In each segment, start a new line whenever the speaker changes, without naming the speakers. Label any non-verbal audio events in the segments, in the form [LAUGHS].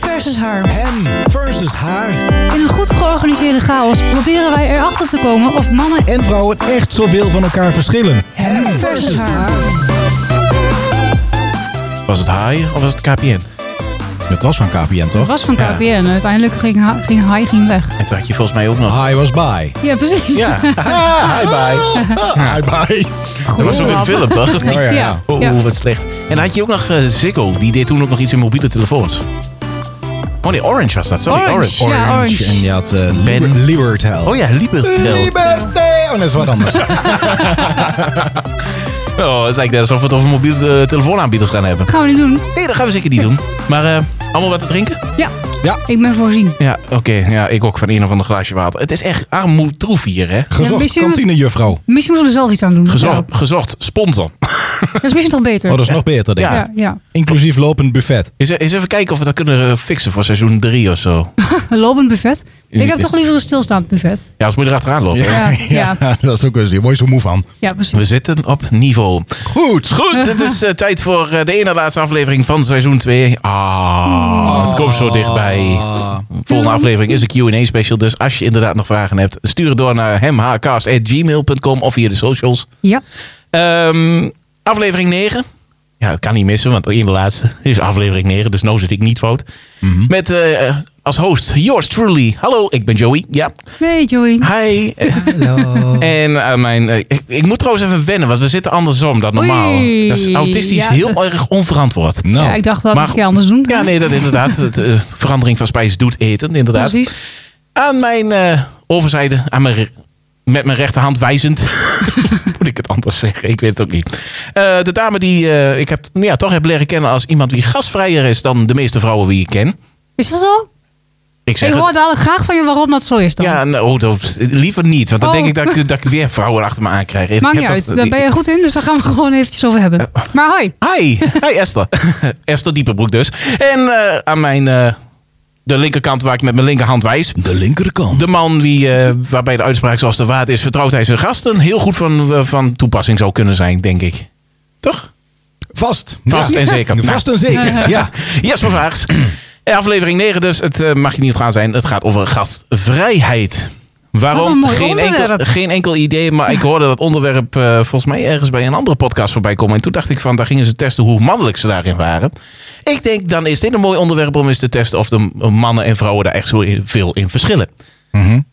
versus haar.
Hem versus haar.
In een goed georganiseerde chaos proberen wij erachter te komen of mannen
En vrouwen echt zoveel van elkaar verschillen.
hem versus haar.
Was het Haai of was het KPN?
Het was van KPN toch?
Het was van
Ja.
KPN. Uiteindelijk ging, ha- ging Hai ging weg.
En toen had je volgens mij ook nog...
High was bye.
Ja, precies.
Ja, [LAUGHS] Haai bye.
[LAUGHS] High bye.
Dat was ook een
grap.
film, toch?
Oh ja.
Oh. Ja.
Oeh, wat slecht. En had je ook nog eh, Ziggo, die deed toen ook nog iets in mobiele telefoons. Oh nee, Orange was dat, sorry.
Orange.
Orange.
Ja, Orange.
En je had eh
Ben.
Liber- Libertel.
Oh ja, Libertel.
Liberté. Oh, dat is wat [LAUGHS] anders.
Oh, het lijkt net alsof we het over mobiele eh, telefoonaanbieders gaan hebben.
[LAUGHS] Gaan we niet doen.
Nee, dat gaan we zeker niet doen. Maar eh, allemaal wat te drinken?
Ja,
Ja.
ik ben voorzien.
Ja, oké. Ja, ik ook van een of ander glaasje water. Het is echt armoedtroef hier, hè?
Gezocht Oh,
misschien-
kantinejuffrouw.
Misschien moeten we er zelf iets aan doen.
Gezocht, gezocht sponsor.
Dat is misschien toch beter.
Oh, dat is nog beter denk ik.
ja, ja. [LAUGHS]
Inclusief lopend buffet.
Eens, eens even kijken of we dat kunnen eh, fixen voor seizoen 3 of zo.
Een lopend buffet. Ik heb
Unity.
toch liever een stilstaand buffet.
Ja, als moet je erachteraan lopen.
[LAUGHS]
Ja, ja.
dat is ook eens. Daar word je zo moe van.
Ja, precies.
We zitten op niveau.
Goed.
Goed, het is eh, tijd voor eh, de ene laatste aflevering van seizoen 2. Ah, het komt zo dichtbij. Volgende aflevering is een Q&A special. Dus als je inderdaad nog vragen hebt, stuur het door naar hemhcast.gmail.com of via de socials.
Ja.
Ehm, aflevering 9. Ja, dat kan niet missen, want in de laatste is aflevering 9. Dus nou zit ik niet fout. Met eh, als host yours truly. Hallo, ik ben Joey. Ja,
Nee, Joey.
hi.
Hallo.
En aan mijn, eh, ik, ik moet trouwens even wennen, want we zitten andersom dan normaal.
Oei.
Dat is autistisch
Ja,
heel
dat-
erg onverantwoord.
Ja, ik
Nou,
dacht dat we
oh. Maar-
het een keer anders doen.
Ja, nee, dat
[LAUGHS]
inderdaad. Het, eh, verandering van spijs doet eten, inderdaad.
Precies.
Aan mijn eh, overzijde, aan mijn, re- met mijn rechterhand
[LAUGHS]
wijzend. Moet ik het anders zeggen? Ik weet het ook niet. Eh, de dame die eh, ik heb, ja, toch heb leren kennen als iemand die gastvrijer is dan de meeste vrouwen die ik ken.
Is dat zo?
Ik zeg
ik
het-
hoor dadelijk graag van je waarom dat zo is dan.
ja, nou, oh, dat, liever niet. Want dan
Oh.
denk ik dat, ik dat ik weer vrouwen achter me aankrijg. Ik
Maakt
heb
niet
dat-
uit. Daar ben je goed in, dus daar gaan we [LAUGHS] gewoon eventjes over hebben. Maar hoi.
Hi, hi Esther. [LAUGHS] Esther Dieperbroek dus. En eh, aan mijn, eh, de linkerkant waar ik met mijn linkerhand wijs.
de linkerkant.
De man wie, eh, waarbij de uitspraak zoals de waard is, vertrouwt hij zijn gasten. Heel goed van, eh, van toepassing zou kunnen zijn, denk ik. Toch?
Vast.
Vast
Ja.
en zeker.
[LAUGHS] Vast en zeker. Ja.
Jesper Vaags. Eh, Aflevering 9 dus. Het eh, mag je niet gaan zijn. Het gaat over gastvrijheid.
Wat een
Waarom?
mooi
Geen enkel,
onderwerp.
geen enkel idee. Maar ik hoorde dat onderwerp eh, volgens mij ergens bij een andere podcast voorbij komen. En toen dacht ik van, daar gingen ze testen hoe mannelijk ze daarin waren. Ik denk, dan is dit een mooi onderwerp om eens te testen of de m- eh, mannen en vrouwen daar echt zo in- veel in verschillen.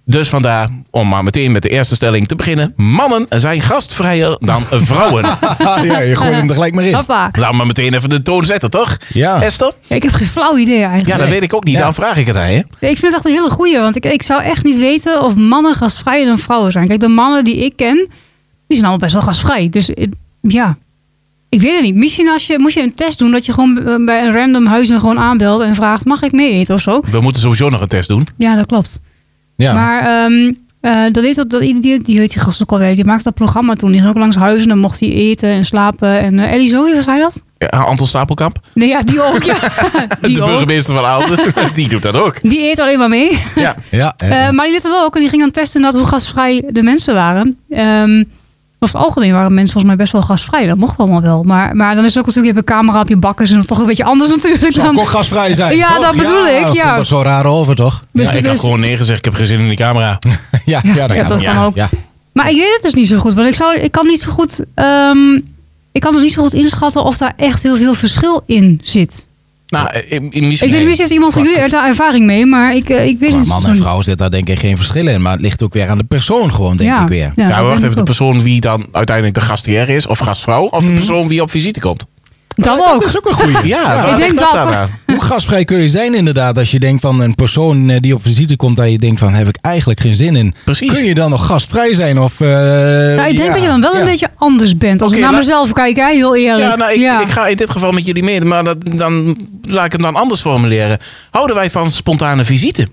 Dus vandaar, om maar meteen met de eerste stelling te beginnen. Mannen zijn gastvrijer dan
[LAUGHS]
vrouwen.
[LAUGHS] ja, je gooit hem er gelijk maar in.
Hoppa.
Laat maar meteen even de toon zetten, toch?
Ja.
Esther?
Ja, ik heb geen flauw idee
Ja,
eigenlijk.
dat weet ik ook niet.
Ja.
Dan vraag ik het aan je.
Ik vind het echt een hele goeie, want ik, ik zou echt niet weten of mannen gastvrijer dan vrouwen zijn. Kijk, de mannen die ik ken, die zijn allemaal best wel gastvrij. Dus eh, ja, ik weet het niet. Misschien als je, moet je een test doen dat je gewoon eh, bij een random huizen gewoon aanbelt en vraagt, mag ik mee eten of zo?
We moeten sowieso nog een test doen.
Ja, dat klopt.
Ja.
Maar ehm, eh, dat deed dat, dat die, die, die heet die gast ook alweer. Die maakte dat programma toen. Die ging ook langs huizen en dan mocht hij eten en slapen. En eh Ellie Zoe, was hij dat?
Ja, Anton Stapelkamp, [LAUGHS]
Nee, ja, die ook. Ja.
de
Die, ook.
burgemeester van Aalten, [LAUGHS] die doet dat ook.
die eet alleen maar mee.
Ja.
Ja. eh,
Eh, maar die deed dat ook. En die ging dan testen dat hoe gastvrij de mensen waren. Ehm over het algemeen waren mensen volgens mij best wel gastvrij. Dat mocht allemaal wel. Maar, maar dan is het ook natuurlijk, je hebt een camera op je bakkers. En toch een beetje anders natuurlijk
zou
dan...
ook gasvrij zijn.
Ja,
toch?
dat bedoel ik,
Dat
ja.
komt er zo raar over, toch?
Dus
Ja, ik
het
had
is-
gewoon nee gezegd, ik heb geen zin in die camera.
[LAUGHS] Ja,
Ja,
ja, dat,
ja,
kan.
dat
ja.
kan ook.
Ja.
Maar ik weet het dus niet zo goed. Want ik, zou, ik kan niet zo goed. ehm, ik kan dus niet zo goed inschatten of daar echt heel veel verschil in zit.
Nou, eh, eh, misschien...
Ik weet niet, misschien heeft iemand van jullie er daar ervaring mee, maar ik, eh, ik weet
Maar
het
man
zo
en
niet.
vrouw zit daar denk ik geen verschil in. Maar het ligt ook weer aan de persoon gewoon, denk ik weer.
Ja,
dat
wacht
denk
even, de
ik ook. Mhm.
persoon wie dan uiteindelijk de gastheer is, of gastvrouw, of de persoon wie op visite komt.
Dat
Maar
ook.
Dat is ook een goeie.
Ja, waar
ik
ligt
denk
dat
dat-
dan aan?
Hoe gasvrij kun je zijn inderdaad als je denkt van een persoon eh, die op visite komt... dat je denkt van heb ik eigenlijk geen zin in.
Precies.
Kun je dan nog gastvrij zijn? Of, eh,
Nou, ik denk
ja,
dat je dan wel
ja.
een beetje anders bent. Als
Oké,
ik naar
laat-
mezelf kijk, hè, heel eerlijk.
Ja, nou, ik, ik ga in dit geval met jullie mee, maar dat, dan laat ik hem dan anders formuleren. Houden wij van spontane visite? eh,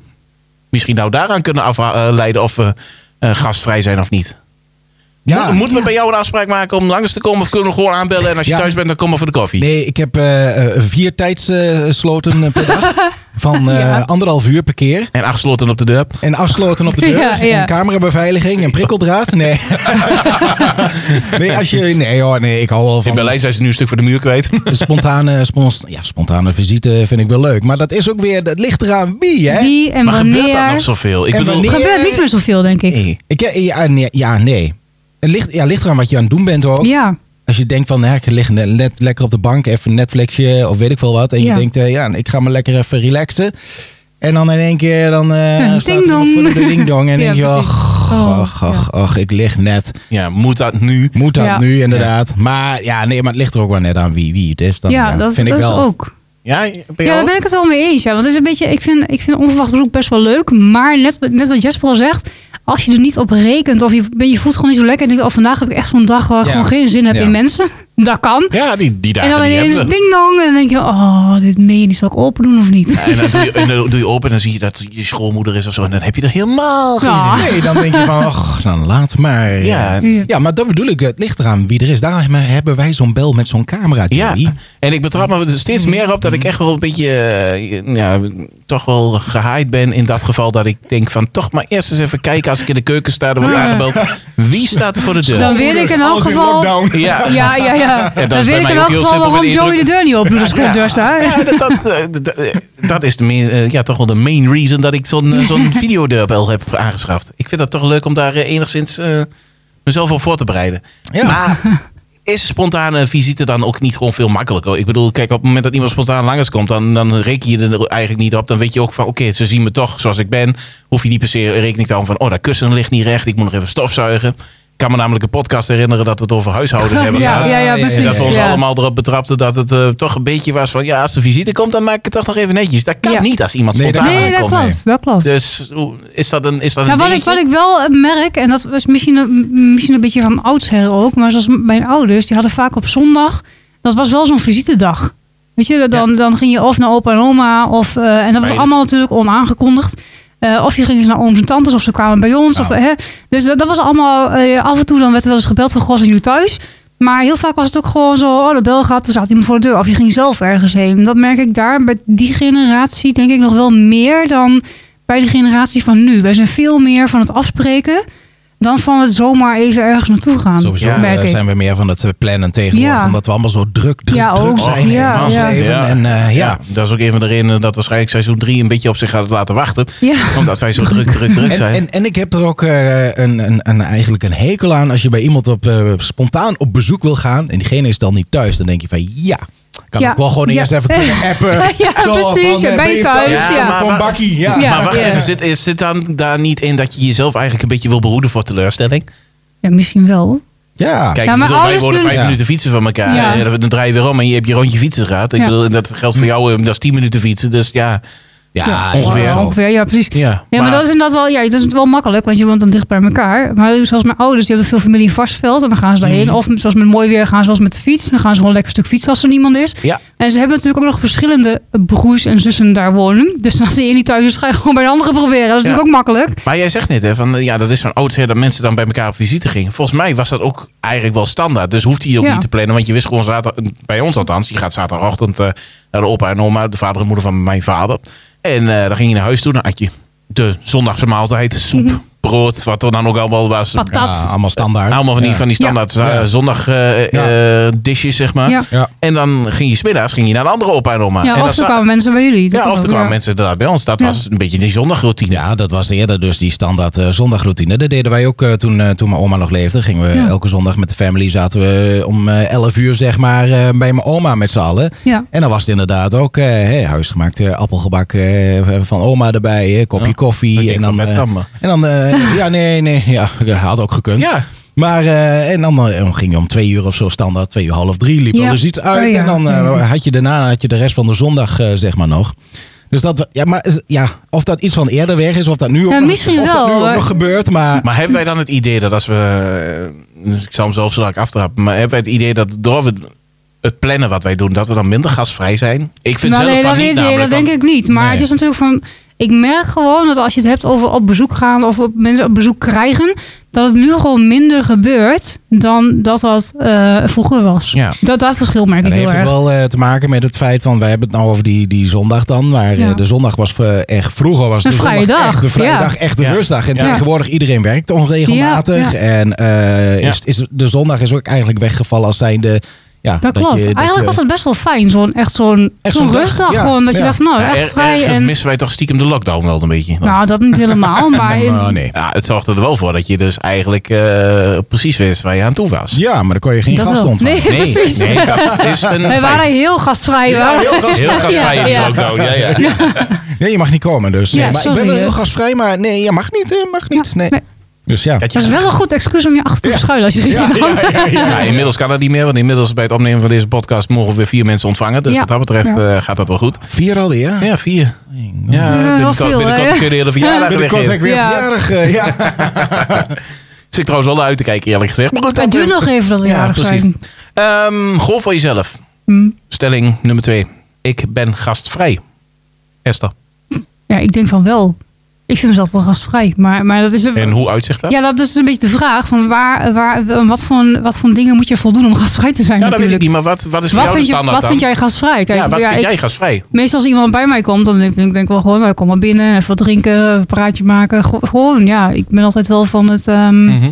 Misschien nou daaraan kunnen afleiden of we eh, gastvrij zijn of niet. Moet- moeten we bij jou een afspraak maken om langs te komen? Of kunnen we gewoon aanbellen en als je
Ja.
thuis bent, dan komen we voor de koffie?
Nee, ik heb eh, eh, vier tijdssloten per dag.
[LAUGHS]
Van eh,
Ja.
anderhalf uur per keer.
En acht sloten op de deur.
En afsloten op de deur.
[LAUGHS] Ja, ja.
En camerabeveiliging en prikkeldraad.
[LAUGHS]
Nee. nee, als je, nee, hoor, nee, ik hou wel
In
van
Berlijn zijn ze nu een stuk voor de muur kwijt.
spontane, spons, ja, spontane visite vind ik wel leuk. Maar dat is ook weer, dat ligt eraan wie, hè?
Wie en
maar gebeurt dat nog
wanneer?
zoveel? Ik
En
bedoel,
wanneer-
Gebeurt niet meer zoveel, denk ik.
nee.
Ik, ja, nee. Ja, nee. Het ligt, ja, ligt eraan wat je aan het doen bent ook.
Ja,
Als je denkt van, hè, ik lig net, net lekker op de bank, even Netflixje of weet ik veel wat. En je
Ja.
denkt, eh, ja, ik ga me lekker even relaxen. En dan in één keer, dan eh
Ja, [LAUGHS]
staat
ding
iemand voor
dong.
de ding dong. En
Ja,
denk je,
precies.
ach,
Oh,
ach, ach, ach, ik lig net.
ja, moet dat nu?
Moet dat
Ja.
nu, inderdaad. Maar ja, nee, maar het ligt er ook wel net aan wie, wie het is. Dan,
ja,
ja,
dat,
vind
dat
ik wel.
is ook.
Ja, ben je
Ja,
al-
daar ben ik het wel mee eens. Ja. Want het is een beetje, ik, vind, ik vind onverwacht bezoek best wel leuk. Maar net, net wat Jesper al zegt, als je er niet op rekent of je, je voelt gewoon niet zo lekker en denkt, oh vandaag heb ik echt zo'n dag waar ik
Ja.
gewoon geen zin heb
Ja.
in mensen. [LAUGHS] Dat kan.
Ja, die, die
en
dagen
dan
die hebben
ineens
we.
ding dong en dan denk je, oh, dit meen je niet, zal ik open doen of niet?
Ja, en, dan doe je, en dan doe je open en dan zie je dat je schoolmoeder is of zo. En dan heb je er helemaal geen
Ja.
zin in.
Nee, dan denk je van, ach, dan laat maar.
Ja.
ja. maar dat bedoel ik. Het ligt eraan wie er is. Daarom hebben wij zo'n bel met zo'n camera,
Ja,
Joey.
en ik betrap me er steeds
Mm-hmm.
meer op dat ik echt wel een beetje, eh, ja, toch wel gehaaid ben in dat geval. Dat ik denk van, toch maar eerst eens even kijken als ik in de keuken sta, dan word ik
Ja.
aangebeld. Wie staat er voor de deur?
Dan weet ik in elk
Alles
geval...
[LAUGHS] lockdown.
[LAUGHS]
Ja,
Ja, ja, ja.
is bij
Dan weet ik
mij
in
ook
elk
heel simpel
geval waarom
met de
Joey de
indruk.
deur niet open doet als ik op de deur sta.
Ja, dat, [LAUGHS] dat, eh, dat, eh, dat is de, main- eh, ja, toch wel de main reason dat ik zo'n eh, zo'n videodeurbel heb aangeschaft. Ik vind dat toch leuk om daar eh, enigszins eh, mezelf op voor te bereiden.
Ja.
Maar is spontane visite dan ook niet gewoon veel makkelijker? Ik bedoel, kijk, op het moment dat iemand spontaan langskomt, dan, dan reken je er eigenlijk niet op. Dan weet je ook van, oké, ze zien me toch zoals ik ben. Hoef je niet per se rekening te houden van, oh, dat kussen ligt niet recht. Ik moet nog even stofzuigen. Ik kan me namelijk een podcast herinneren dat we het over huishouden hebben
Ja,
gehad.
ja, ja,
En dat
precies.
En dat we ons
ja.
allemaal erop betrapten dat het eh, toch een beetje was van... ja, als de visite komt, dan maak ik het toch nog even netjes. Dat kan
Ja.
niet als iemand
Nee,
spontaan
dat-
Nee, dat
aankomt.
klopt. Dat klopt.
Dus hoe- is dat een, is dat een
Nou, wat, ik,
dingetje?
wat ik wel eh, merk, en dat was misschien, een- misschien een beetje van oudsher ook, maar zoals mijn ouders, die hadden vaak op zondag, dat was wel zo'n visitedag. Weet je, dan, dan ging je of naar opa en oma, of, eh, en dat was
Beide.
allemaal natuurlijk onaangekondigd. Eh, of je ging eens naar ooms en tantes, of ze kwamen bij ons. Of,
Nou.
hè. Dus dat, dat was allemaal, eh, af en toe dan werd er wel eens gebeld van, goh, zijn jullie thuis? Maar heel vaak was het ook gewoon zo, oh, de bel gaat, er zat iemand voor de deur. Of je ging zelf ergens heen. Dat merk ik daar bij die generatie denk ik nog wel meer dan bij de generatie van nu. Wij zijn veel meer van het afspreken dan van het zomaar even ergens naartoe gaan.
Sowieso
Ja,
merk
eh,
ik.
zijn we meer van het eh, plannen tegenwoordig.
Ja.
Omdat we allemaal zo druk, druk,
Ja,
druk
ook.
zijn
Ja,
in ons
ja.
leven.
Nou Ja.
En eh, ja.
dat is ook een van de redenen dat waarschijnlijk seizoen 3 een beetje op zich gaat laten wachten.
Ja.
Omdat wij zo druk, druk, druk
En,
zijn.
en, en ik heb er ook eh, een, een, een, eigenlijk een hekel aan als je bij iemand op, eh, spontaan op bezoek wil gaan. En diegene is dan niet thuis. Dan denk je van ja, kan
Ja.
ik wel gewoon
[LAUGHS] Ja.
eerst even kunnen appen.
Ja, precies, ja,
eh,
ben je thuis? Ja.
Of een bakkie. Ja.
Ja.
maar wacht even, zit, is- zit dan daar niet in dat je jezelf eigenlijk een beetje wil behoeden voor teleurstelling?
Ja, misschien wel.
Ja.
Kijk,
Ja, maar
ik bedoel, wij
ouders
worden
doen-
vijf
Ja.
minuten fietsen van elkaar.
Ja.
En dan draai je weer om en je hebt je rondje fietsen gehad. Ik
Ja.
bedoel, dat geldt voor jou, eh, dat is 10 minuten fietsen. Dus ja,
Hm. Ja,
ongeveer.
Ja, ongeveer, ja, precies.
ja.
Ja, maar, dat is inderdaad wel, ja, dat is wel makkelijk, want je woont dan dicht bij elkaar. Maar zoals mijn ouders, die hebben veel familie in Varstveld en dan gaan ze daarheen.
Mhm.
Of zoals met mooi weer gaan ze wel eens met de fiets. Dan gaan ze gewoon lekker een stuk fietsen als er niemand is.
Ja.
En ze hebben natuurlijk ook nog verschillende broers en zussen daar wonen. Dus als de een niet thuis is, ga je gewoon bij de andere proberen. Dat is
Ja.
natuurlijk ook makkelijk.
Maar jij zegt net, hè, van eh, ja, dat is van oudsher dat mensen dan bij elkaar op visite gingen. Volgens mij was dat ook eigenlijk wel standaard. Dus hoefde je ook
Ja.
niet te plannen, want je wist gewoon zaterdag, bij ons althans, je gaat zaterdagochtend eh, naar de opa en oma, de vader en moeder van mijn vader. En eh, dan ging je naar huis toe, dan had je de zondagse maaltijd, soep,
Mhm.
brood, wat er dan ook allemaal was.
Patat.
Ja, allemaal standaard.
Nou, Allemaal van die,
Ja.
van die standaard eh,
Ja.
zondag eh, eh, dishes, zeg maar.
Ja.
Ja.
En dan ging je smiddags ging je naar een andere opa en oma.
Ja,
en dan
of er
za-
kwamen mensen bij jullie. Dat
ja,
kan
of er
ook,
kwamen
ja.
mensen inderdaad bij ons. Dat
Ja.
was een beetje die zondagroutine.
Ja, dat was eerder dus die standaard eh, zondagroutine. Dat deden wij ook eh, toen, eh, toen mijn oma nog leefde. Gingen we
Ja.
elke zondag met de family, zaten we om eh 11 uur zeg maar eh, bij mijn oma met z'n allen.
Ja.
En dan was het inderdaad ook eh, hey, huisgemaakt eh, appelgebak eh, van oma erbij, eh, kopje
Ja. Dat
koffie.
denk
En
ik
dan,
wel met
eh,
kammen.
en dan eh, ja, nee, nee, ja, [LAUGHS] had ook gekund.
Ja,
Maar eh, en dan, eh, dan ging je om twee uur of zo standaard, twee uur half drie, liep
Ja.
alles iets uit.
Oh ja.
En dan eh, had je daarna had je de rest van de zondag, eh, zeg maar nog. Dus dat, ja, maar is- ja, of dat iets van eerder weg is, of dat nu ook,
Ja,
nog,
misschien
of dat
wel,
nu ook
maar-
nog gebeurt, maar,
Maar hebben wij dan het idee dat als we. eh, Ik zal hem zelf zo dadelijk aftrappen. Maar hebben wij het idee dat door we het plannen wat wij doen, dat we dan minder gasvrij zijn? Ik vind
Nou,
zelf
nee,
van
dat,
niet.
weet- nee,
namelijk,
dat denk
want-
ik niet. Maar
Nee.
het is natuurlijk van. Ik merk gewoon dat als je het hebt over op bezoek gaan of op mensen op bezoek krijgen. dat het nu gewoon minder gebeurt dan dat dat eh, vroeger was.
Ja.
Dat, dat verschil merk
Dat
ik
heeft
heel
ook
erg.
wel eh, te maken met het feit van, wij hebben het nou over die, die zondag dan. Maar eh,
Ja.
de zondag was eh, echt, vroeger was
Een
de
vrije
zondag
dag,
echt de
ja.
vrijdag, echt de
Ja.
rustdag. En
Ja.
tegenwoordig iedereen werkt onregelmatig.
Ja, ja.
En eh,
Ja.
Is, is, de zondag is ook eigenlijk weggevallen als zijnde... Ja,
Dat,
je-
klopt. Eigenlijk
je-
was het best wel fijn, zo'n echt zo'n
Echt
zo'n
zo'n dag,
rustdag.
ja.
Gewoon dat je
Ja.
dacht, nou,
Ja,
echt
er-
vrij.
ergens
En,
missen wij toch stiekem de lockdown wel een beetje.
nou, dat niet
[LAUGHS]
helemaal, maar
Nou, nee.
Ja, het zorgde er wel voor dat je dus eigenlijk eh, precies wist waar je aan toe was.
Ja, maar dan kon je geen
dat
gast
wel.
ontvangen.
Nee, precies.
nee, dat
[LAUGHS]
is een
Wij
feit.
waren heel gastvrij. we waren-
heel gast-
heel gastvrij in
Ja,
de
ja.
lockdown. Ja, ja.
Nee, je mag niet komen dus.
Ja,
Nee, maar ik ben
sorry,
wel heel
hè.
gastvrij, maar nee, je mag niet. eh, Mag niet.
Ja,
Nee.
nee.
Dus ja.
Dat je-
Dat is wel een goed excuus om je achter te verschuilen als je geen zin had.
Ja, inmiddels kan dat niet meer, want inmiddels bij het opnemen van deze podcast mogen we weer vier mensen ontvangen. Dus
Ja.
wat dat betreft eh, gaat dat wel goed.
[LAUGHS] Vier alweer.
Ja, vier. Ja,
wel
Eh, binnenkort,
veel, hè?
binnenkort kun je de hele verjaardag
Binnenkort heb
weggeven.
ik weer
Ja.
verjaardag. eh, ja.
[LAUGHS] Zit ik trouwens wel naar uit te kijken, eerlijk gezegd. Maar goed,
Het
dat
duurt nog even [LAUGHS] dat we
Ja,
jarig
precies.
zijn.
Ehm, goal voor jezelf.
Hm.
Stelling nummer twee. Ik ben gastvrij. Esther.
Ja, ik denk van wel. Ik vind mezelf wel gastvrij. Maar, maar dat is een,
En hoe uitzicht dat?
ja, dat is een beetje de vraag. Van waar, waar, wat, voor, wat voor dingen moet je voldoen om gastvrij te zijn
Ja, dat weet ik
natuurlijk.
niet, maar wat, wat is voor
wat
jou de
vind, je,
standaard
wat
dan?
vind jij gastvrij? Kijk,
nou ja, wat vind
ik-
jij gastvrij?
Meestal als iemand bij mij komt, dan denk ik, denk ik wel gewoon, nou, kom maar binnen, even wat drinken, een praatje maken. Go- gewoon, ja, ik ben altijd wel van het ehm,
Mhm.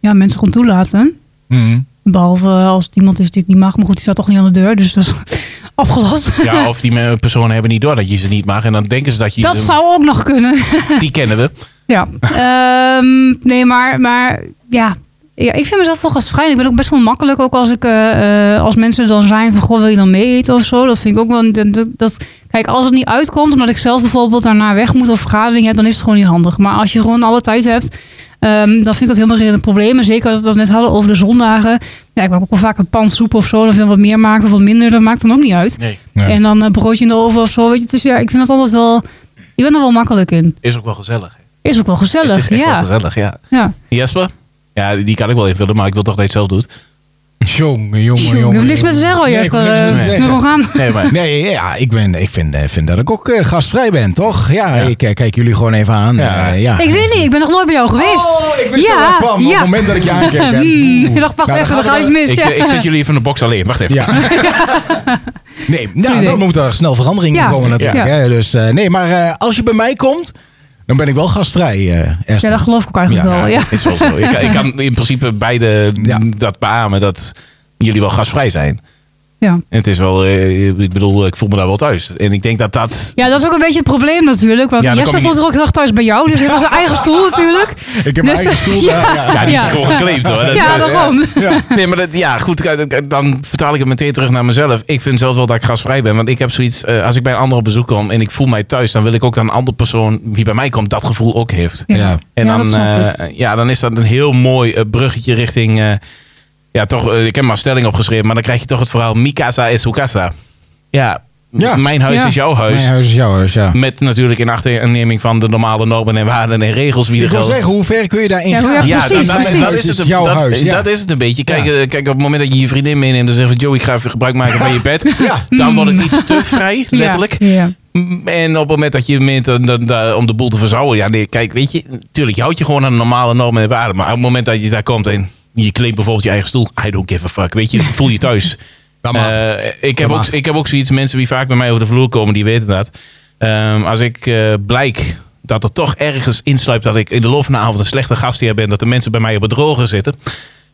ja, mensen gewoon toelaten.
Mhm.
Behalve als het iemand is die ik niet mag. Maar goed, die staat toch niet aan de deur, dus dat is [LAUGHS] opgelost.
Ja, of die me- personen hebben niet door dat je ze niet mag. En dan denken ze dat je
Dat
ze-
zou ook nog kunnen.
Die kennen we.
Ja. Ehm, nee, maar, maar ja. ja. Ik vind mezelf wel gastvrij. Ik ben ook best wel makkelijk. Ook als, ik, eh, eh, als mensen dan zijn van, goh, wil je dan mee eten of zo? Dat vind ik ook wel... Dat, dat- dat- kijk, als het niet uitkomt, omdat ik zelf bijvoorbeeld daarna weg moet of vergadering heb, dan is het gewoon niet handig. Maar als je gewoon alle tijd hebt, ehm, dan vind ik dat helemaal geen probleem. En zeker wat we net hadden over de zondagen. Ja, ik maak ook wel vaak een pan soep of zo. Dan vind ik wat meer maakt of wat minder. Dat maakt dan ook niet uit.
Nee.
Ja.
En dan een broodje in de oven of zo. Weet je, dus ja, ik vind dat altijd wel... Ik ben er wel makkelijk in.
Is ook wel gezellig.
Is ook wel gezellig.
Het is echt
ja.
wel gezellig, ja.
Ja.
Jesper? Ja, die kan ik wel invullen, maar ik wil toch dat je het zelf doet.
Jongen, jongen,
Tjonge,
jongen.
je hoeft niks meer te zeggen hoor,
Nee, ik
Jasper.
hoef niks meer te
Eh,
zeggen.
nog aan.
Nee,
[LAUGHS]
maar...
Nee, ja, ik, ben, ik vind, eh, vind dat ik ook eh, gastvrij ben, toch? Ja,
Ja.
ik eh, kijk jullie gewoon even aan.
Ja.
eh, ja.
Ik weet niet, ik ben nog nooit bij jou geweest.
Oh, ik wist dat wel, Pam. Op het moment dat ik je aankeek.
[LAUGHS]
hè.
Hmm,
Oeh.
ik dacht, [LAUGHS] wacht
Nou,
even,
dan
er gaat
gaan
iets
we
mis.
Ik,
Dus ja.
eh, ik zet jullie even in de box alleen. Wacht
[LAUGHS]
even.
Ja. nee, nou,
idee.
dan moet er snel verandering in
Ja.
komen natuurlijk.
Ja.
Hè? Dus, eh, nee, maar eh, als je bij mij komt, dan ben ik wel gastvrij, eh,
Ja,
Esther.
dat geloof ik ook eigenlijk
Ja,
wel. Ja.
Is wel zo. Ik, kan- ik kan in principe beide
Ja.
dat beamen dat jullie wel gastvrij zijn.
Ja.
En het is wel, eh, ik bedoel, ik voel me daar wel thuis. En ik denk dat dat...
ja, dat is ook een beetje het probleem natuurlijk. Want
Ja, dan kom
Jasper
je-
voelt zich ook heel erg thuis bij jou. Dus hij heeft zijn eigen stoel natuurlijk.
Ik heb mijn
Dus-
eigen stoel.
[LAUGHS] Ja.
daar, ja.
Ja, die
Ja.
is gewoon geclaimd hoor. Dat-
Ja, daarom.
Ja.
Nee, maar dat, ja, goed, kijk, dat- dan vertaal ik het meteen terug naar mezelf. Ik vind zelf wel dat ik gastvrij ben. Want ik heb zoiets, eh, als ik bij een ander op bezoek kom en ik voel mij thuis... dan wil ik ook dat een andere persoon die bij mij komt dat gevoel ook heeft.
Ja.
En
Ja, dat
dan,
snap ik.
eh, ja, dan is dat een heel mooi eh, bruggetje richting... eh, ja, toch, eh, ik heb maar een stelling opgeschreven, maar dan krijg je toch het verhaal... Mi casa is tu casa. Ja,
Ja.
mijn huis
Ja.
is jouw huis.
Mijn huis is jouw huis, ja.
Met natuurlijk in achterneming van de normale normen en waarden en regels die
Ik
er
wil
gelden.
zeggen, hoe ver kun je daarin
Ja, hoe-
gaan?
ja, precies,
dat, dat-
precies.
dat is het,
is jouw
dat,
huis, ja.
dat is het een beetje. Kijk,
Ja.
eh, kijk, op het moment dat je je vriendin meeneemt en zegt van... Joey, ik ga even gebruik maken van je
[LAUGHS]
bed.
Ja.
Dan wordt het iets te vrij,
Mm. Ja.
letterlijk.
Ja.
Mm, En op het moment dat je meent eh, dat- dat- om de boel te verzouwen. Ja, nee, kijk, weet je, tuurlijk, je houdt je gewoon aan de normale normen en waarden. Maar op het moment dat je daar komt en je claimt bijvoorbeeld je eigen stoel. I don't give a fuck. Weet je,
[LAUGHS]
voel je thuis.
Dat mag.
Eh, ik, heb
Dat
ook,
mag.
ik heb ook zoiets, mensen die vaak bij mij over de vloer komen, die weten dat. Ehm, als ik eh, blijk dat er toch ergens insluipt dat ik in de loop van de avond een slechte gastheer ben. Dat de mensen bij mij op het droge zitten.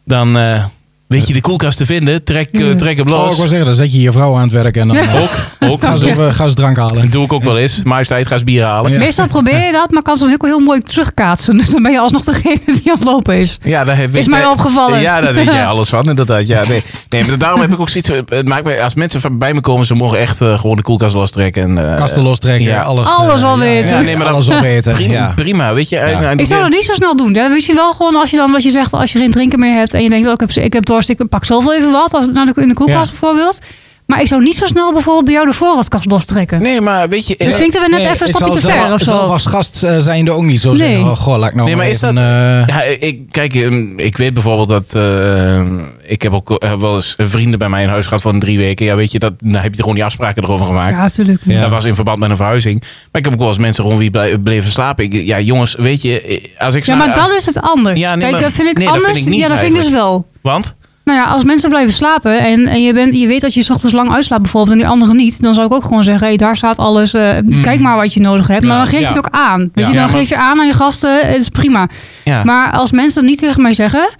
Dan eh, weet je de koelkast te vinden. Trek, eh, trek hem
Oh,
los.
ik wil zeggen, dan zet je je vrouw aan het werk en dan eh,
Ook,
[LAUGHS]
ook.
gaan ze even gasdrank halen.
Doe ik ook wel eens. Maar is tijd, ga eens bier halen.
Meestal probeer je dat, maar kan ze hem ook heel mooi terugkaatsen. Dus dan ben je alsnog degene die aan het lopen is.
Ja, daar heb
Is mij opgevallen.
Ja, daar weet
[LAUGHS]
jij alles van, inderdaad. Ja, nee. nee, maar daarom heb ik ook zoiets. Het maakt mij, als mensen van bij me komen, ze mogen echt eh, gewoon de koelkast lostrekken. En, eh,
Kasten lostrekken,
ja.
alles.
Alles
eh,
al
ja,
weten.
Ja, nee, maar alles al weten.
Prima,
Ja.
prima, weet je. En- en-
Ik zou dat niet zo snel doen. Ja, misschien wel gewoon als je dan wat je zegt, als je geen drinken meer hebt en je denkt, oh, ik, heb, ik heb dorst, ik pak zoveel even wat, als, naar de, in de koelkast
Ja.
bijvoorbeeld. Maar ik zou niet zo snel bijvoorbeeld bij jou de voorraadkast lostrekken.
Nee, maar weet je... eh,
Dus klinkt er weer net even een stapje te ver of
Ik zal
zo.
als gast eh, zijnde ook niet zo
Nee.
zeggen. Oh, goh, laat ik nou
Nee, maar
maar
is
even,
dat-
eh,
Ja, ik, kijk, ehm, ik weet bijvoorbeeld dat... eh, ik heb ook eh, wel eens vrienden bij mij in huis gehad van drie weken. Ja, weet je, dat, daar heb je gewoon die afspraken erover gemaakt.
Ja, natuurlijk.
Ja.
Dat was in verband met een verhuizing. Maar ik heb ook wel eens mensen rond wie blij- bleven slapen. Ik, ja, jongens, weet je, eh, als ik
Ja,
s'na-
maar dat is het anders.
Ja, nee,
Kijk,
maar-
dat vind ik
nee, dat
anders.
vind ik niet
ja, dat vind ik dus wel.
Want?
Nou ja, als mensen blijven slapen en, en je, bent, je weet dat je 's ochtends lang uitslaapt bijvoorbeeld en die anderen niet, dan zou ik ook gewoon zeggen, hey, daar staat alles, eh, kijk maar wat je nodig hebt. Maar
Ja,
dan geef je
ja.
het ook aan. Weet
Ja.
je, dan
Mm. Ja, maar-
geef je aan aan je gasten, het is prima.
Ja.
Maar als mensen dat niet tegen mij zeggen,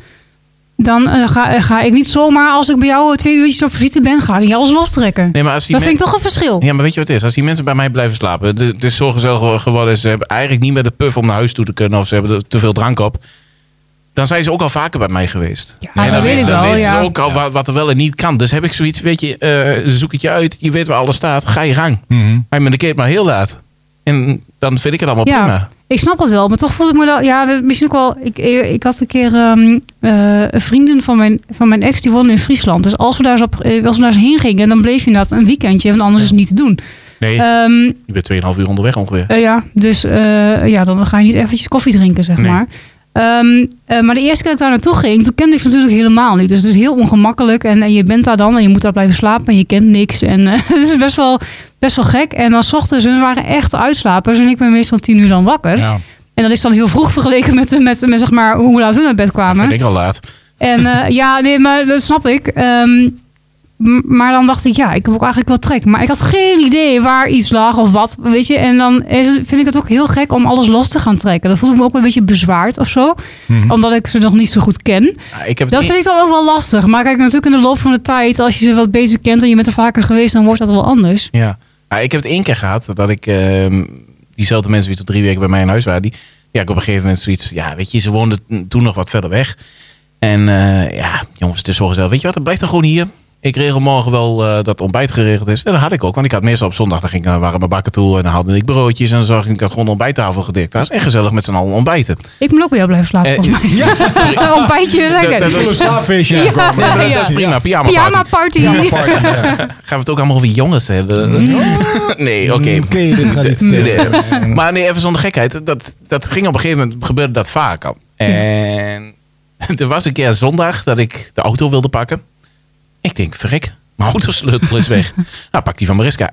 dan eh, ga, eh, ga ik niet zomaar, als ik bij jou eh, twee uurtjes op visite ben, ga ik niet alles lostrekken.
nee, maar als die
dat
men-
vind ik toch een verschil.
Ja, maar weet je wat het is? Als die mensen bij mij blijven slapen, het is- het is zo gezellig geworden. Ze hebben eigenlijk niet meer de puff om naar huis toe te kunnen of ze hebben er te veel drank op. Dan zijn ze ook al vaker bij mij geweest.
Ja,
En
dat
dan
weet ik
dan
wel,
weten ze
ja.
ook al wa- wat er wel en niet kan. Dus heb ik zoiets, weet je, eh, zoek het je uit. Je weet waar alles staat. Ga je gang.
mhm.
Maar met de keer maar heel laat. En dan vind ik het allemaal
Ja.
prima.
Ik snap dat wel, maar toch voelde ik me dat... Ja, dat- misschien ook wel... Ik, ik, ik had een keer ehm, eh, vrienden van mijn, van mijn ex, die woonden in Friesland. Dus als we daar eens, op, eh, als we daar eens heen gingen, dan bleef je dat een weekendje. Want anders is het niet te doen.
Nee,
Ehm,
je bent 2,5 uur onderweg ongeveer.
eh, ja, dus eh, ja, dan ga je niet eventjes koffie drinken, zeg
Nee.
maar. Ehm, eh, maar de eerste keer dat ik daar naartoe ging, toen kende ik ze natuurlijk helemaal niet. Dus het is heel ongemakkelijk. En, en je bent daar dan en je moet daar blijven slapen en je kent niks. En eh, [LAUGHS] het is best wel, best wel gek. En dan 's ochtends, hun waren echt uitslapers. En ik ben meestal tien uur dan wakker.
Ja.
En dat is dan heel vroeg vergeleken met, met, met zeg maar, hoe laat we naar bed
Dat
kwamen.
vind ik al laat. Ah,
En eh, [LAUGHS] ja, nee, maar dat snap ik. Ehm, m- maar dan dacht ik, ja, ik heb ook eigenlijk wel trek. Maar ik had geen idee waar iets lag of wat, weet je. En dan is- vind ik het ook heel gek om alles los te gaan trekken. Dat voel ik me ook een beetje bezwaard of zo.
Mhm.
Omdat ik ze nog niet zo goed ken.
Ja, ik heb het
Dat
in-
vind ik dan ook wel lastig. Maar kijk, natuurlijk in de loop van de tijd, als je ze wat beter kent en je bent er vaker geweest, dan wordt dat wel anders.
Ja. Maar ik heb het één keer gehad dat ik ehm, diezelfde mensen die tot drie weken bij mij in huis waren, die, ja, ik op een gegeven moment zoiets, ja, weet je, ze woonden toen nog wat verder weg. En eh, ja, jongens, het is zo gezellig. Weet je wat, dan blijft dan gewoon hier. Ik regel morgen wel eh, dat ontbijt geregeld is. En dat had ik ook, want ik had meestal op zondag, dan ging, ik, eh, waren mijn bakken toe en dan haalde ik broodjes en dan zag ik dat gewoon de ontbijttafel gedekt was. En gezellig met z'n allen ontbijten.
Ik moet ook bij jou blijven slapen,
Eh,
volgens mij. [LAUGHS] Een ontbijtje, lekker.
[LAUGHS] dat-
Zullen we een slaapfeestje
Ja.
aankomen?
Ja,
Maar dus- Dat is prima, pyjama,
Pyjama
party.
party.
Ja, maar party, ja.
Gaan we het ook allemaal over jongens hebben?
Mm.
Nee, oké.
Mm, dit gaat iets
eh, Nee.
te- [LAUGHS] Mm.
Maar nee, even zonder gekheid. Dat, dat ging op een gegeven moment, gebeurde dat vaak al. En [LAUGHS] er was een keer een zondag dat ik de auto wilde pakken. Ik denk, verrek, mijn autosleutel is weg. nou, pak die van Mariska.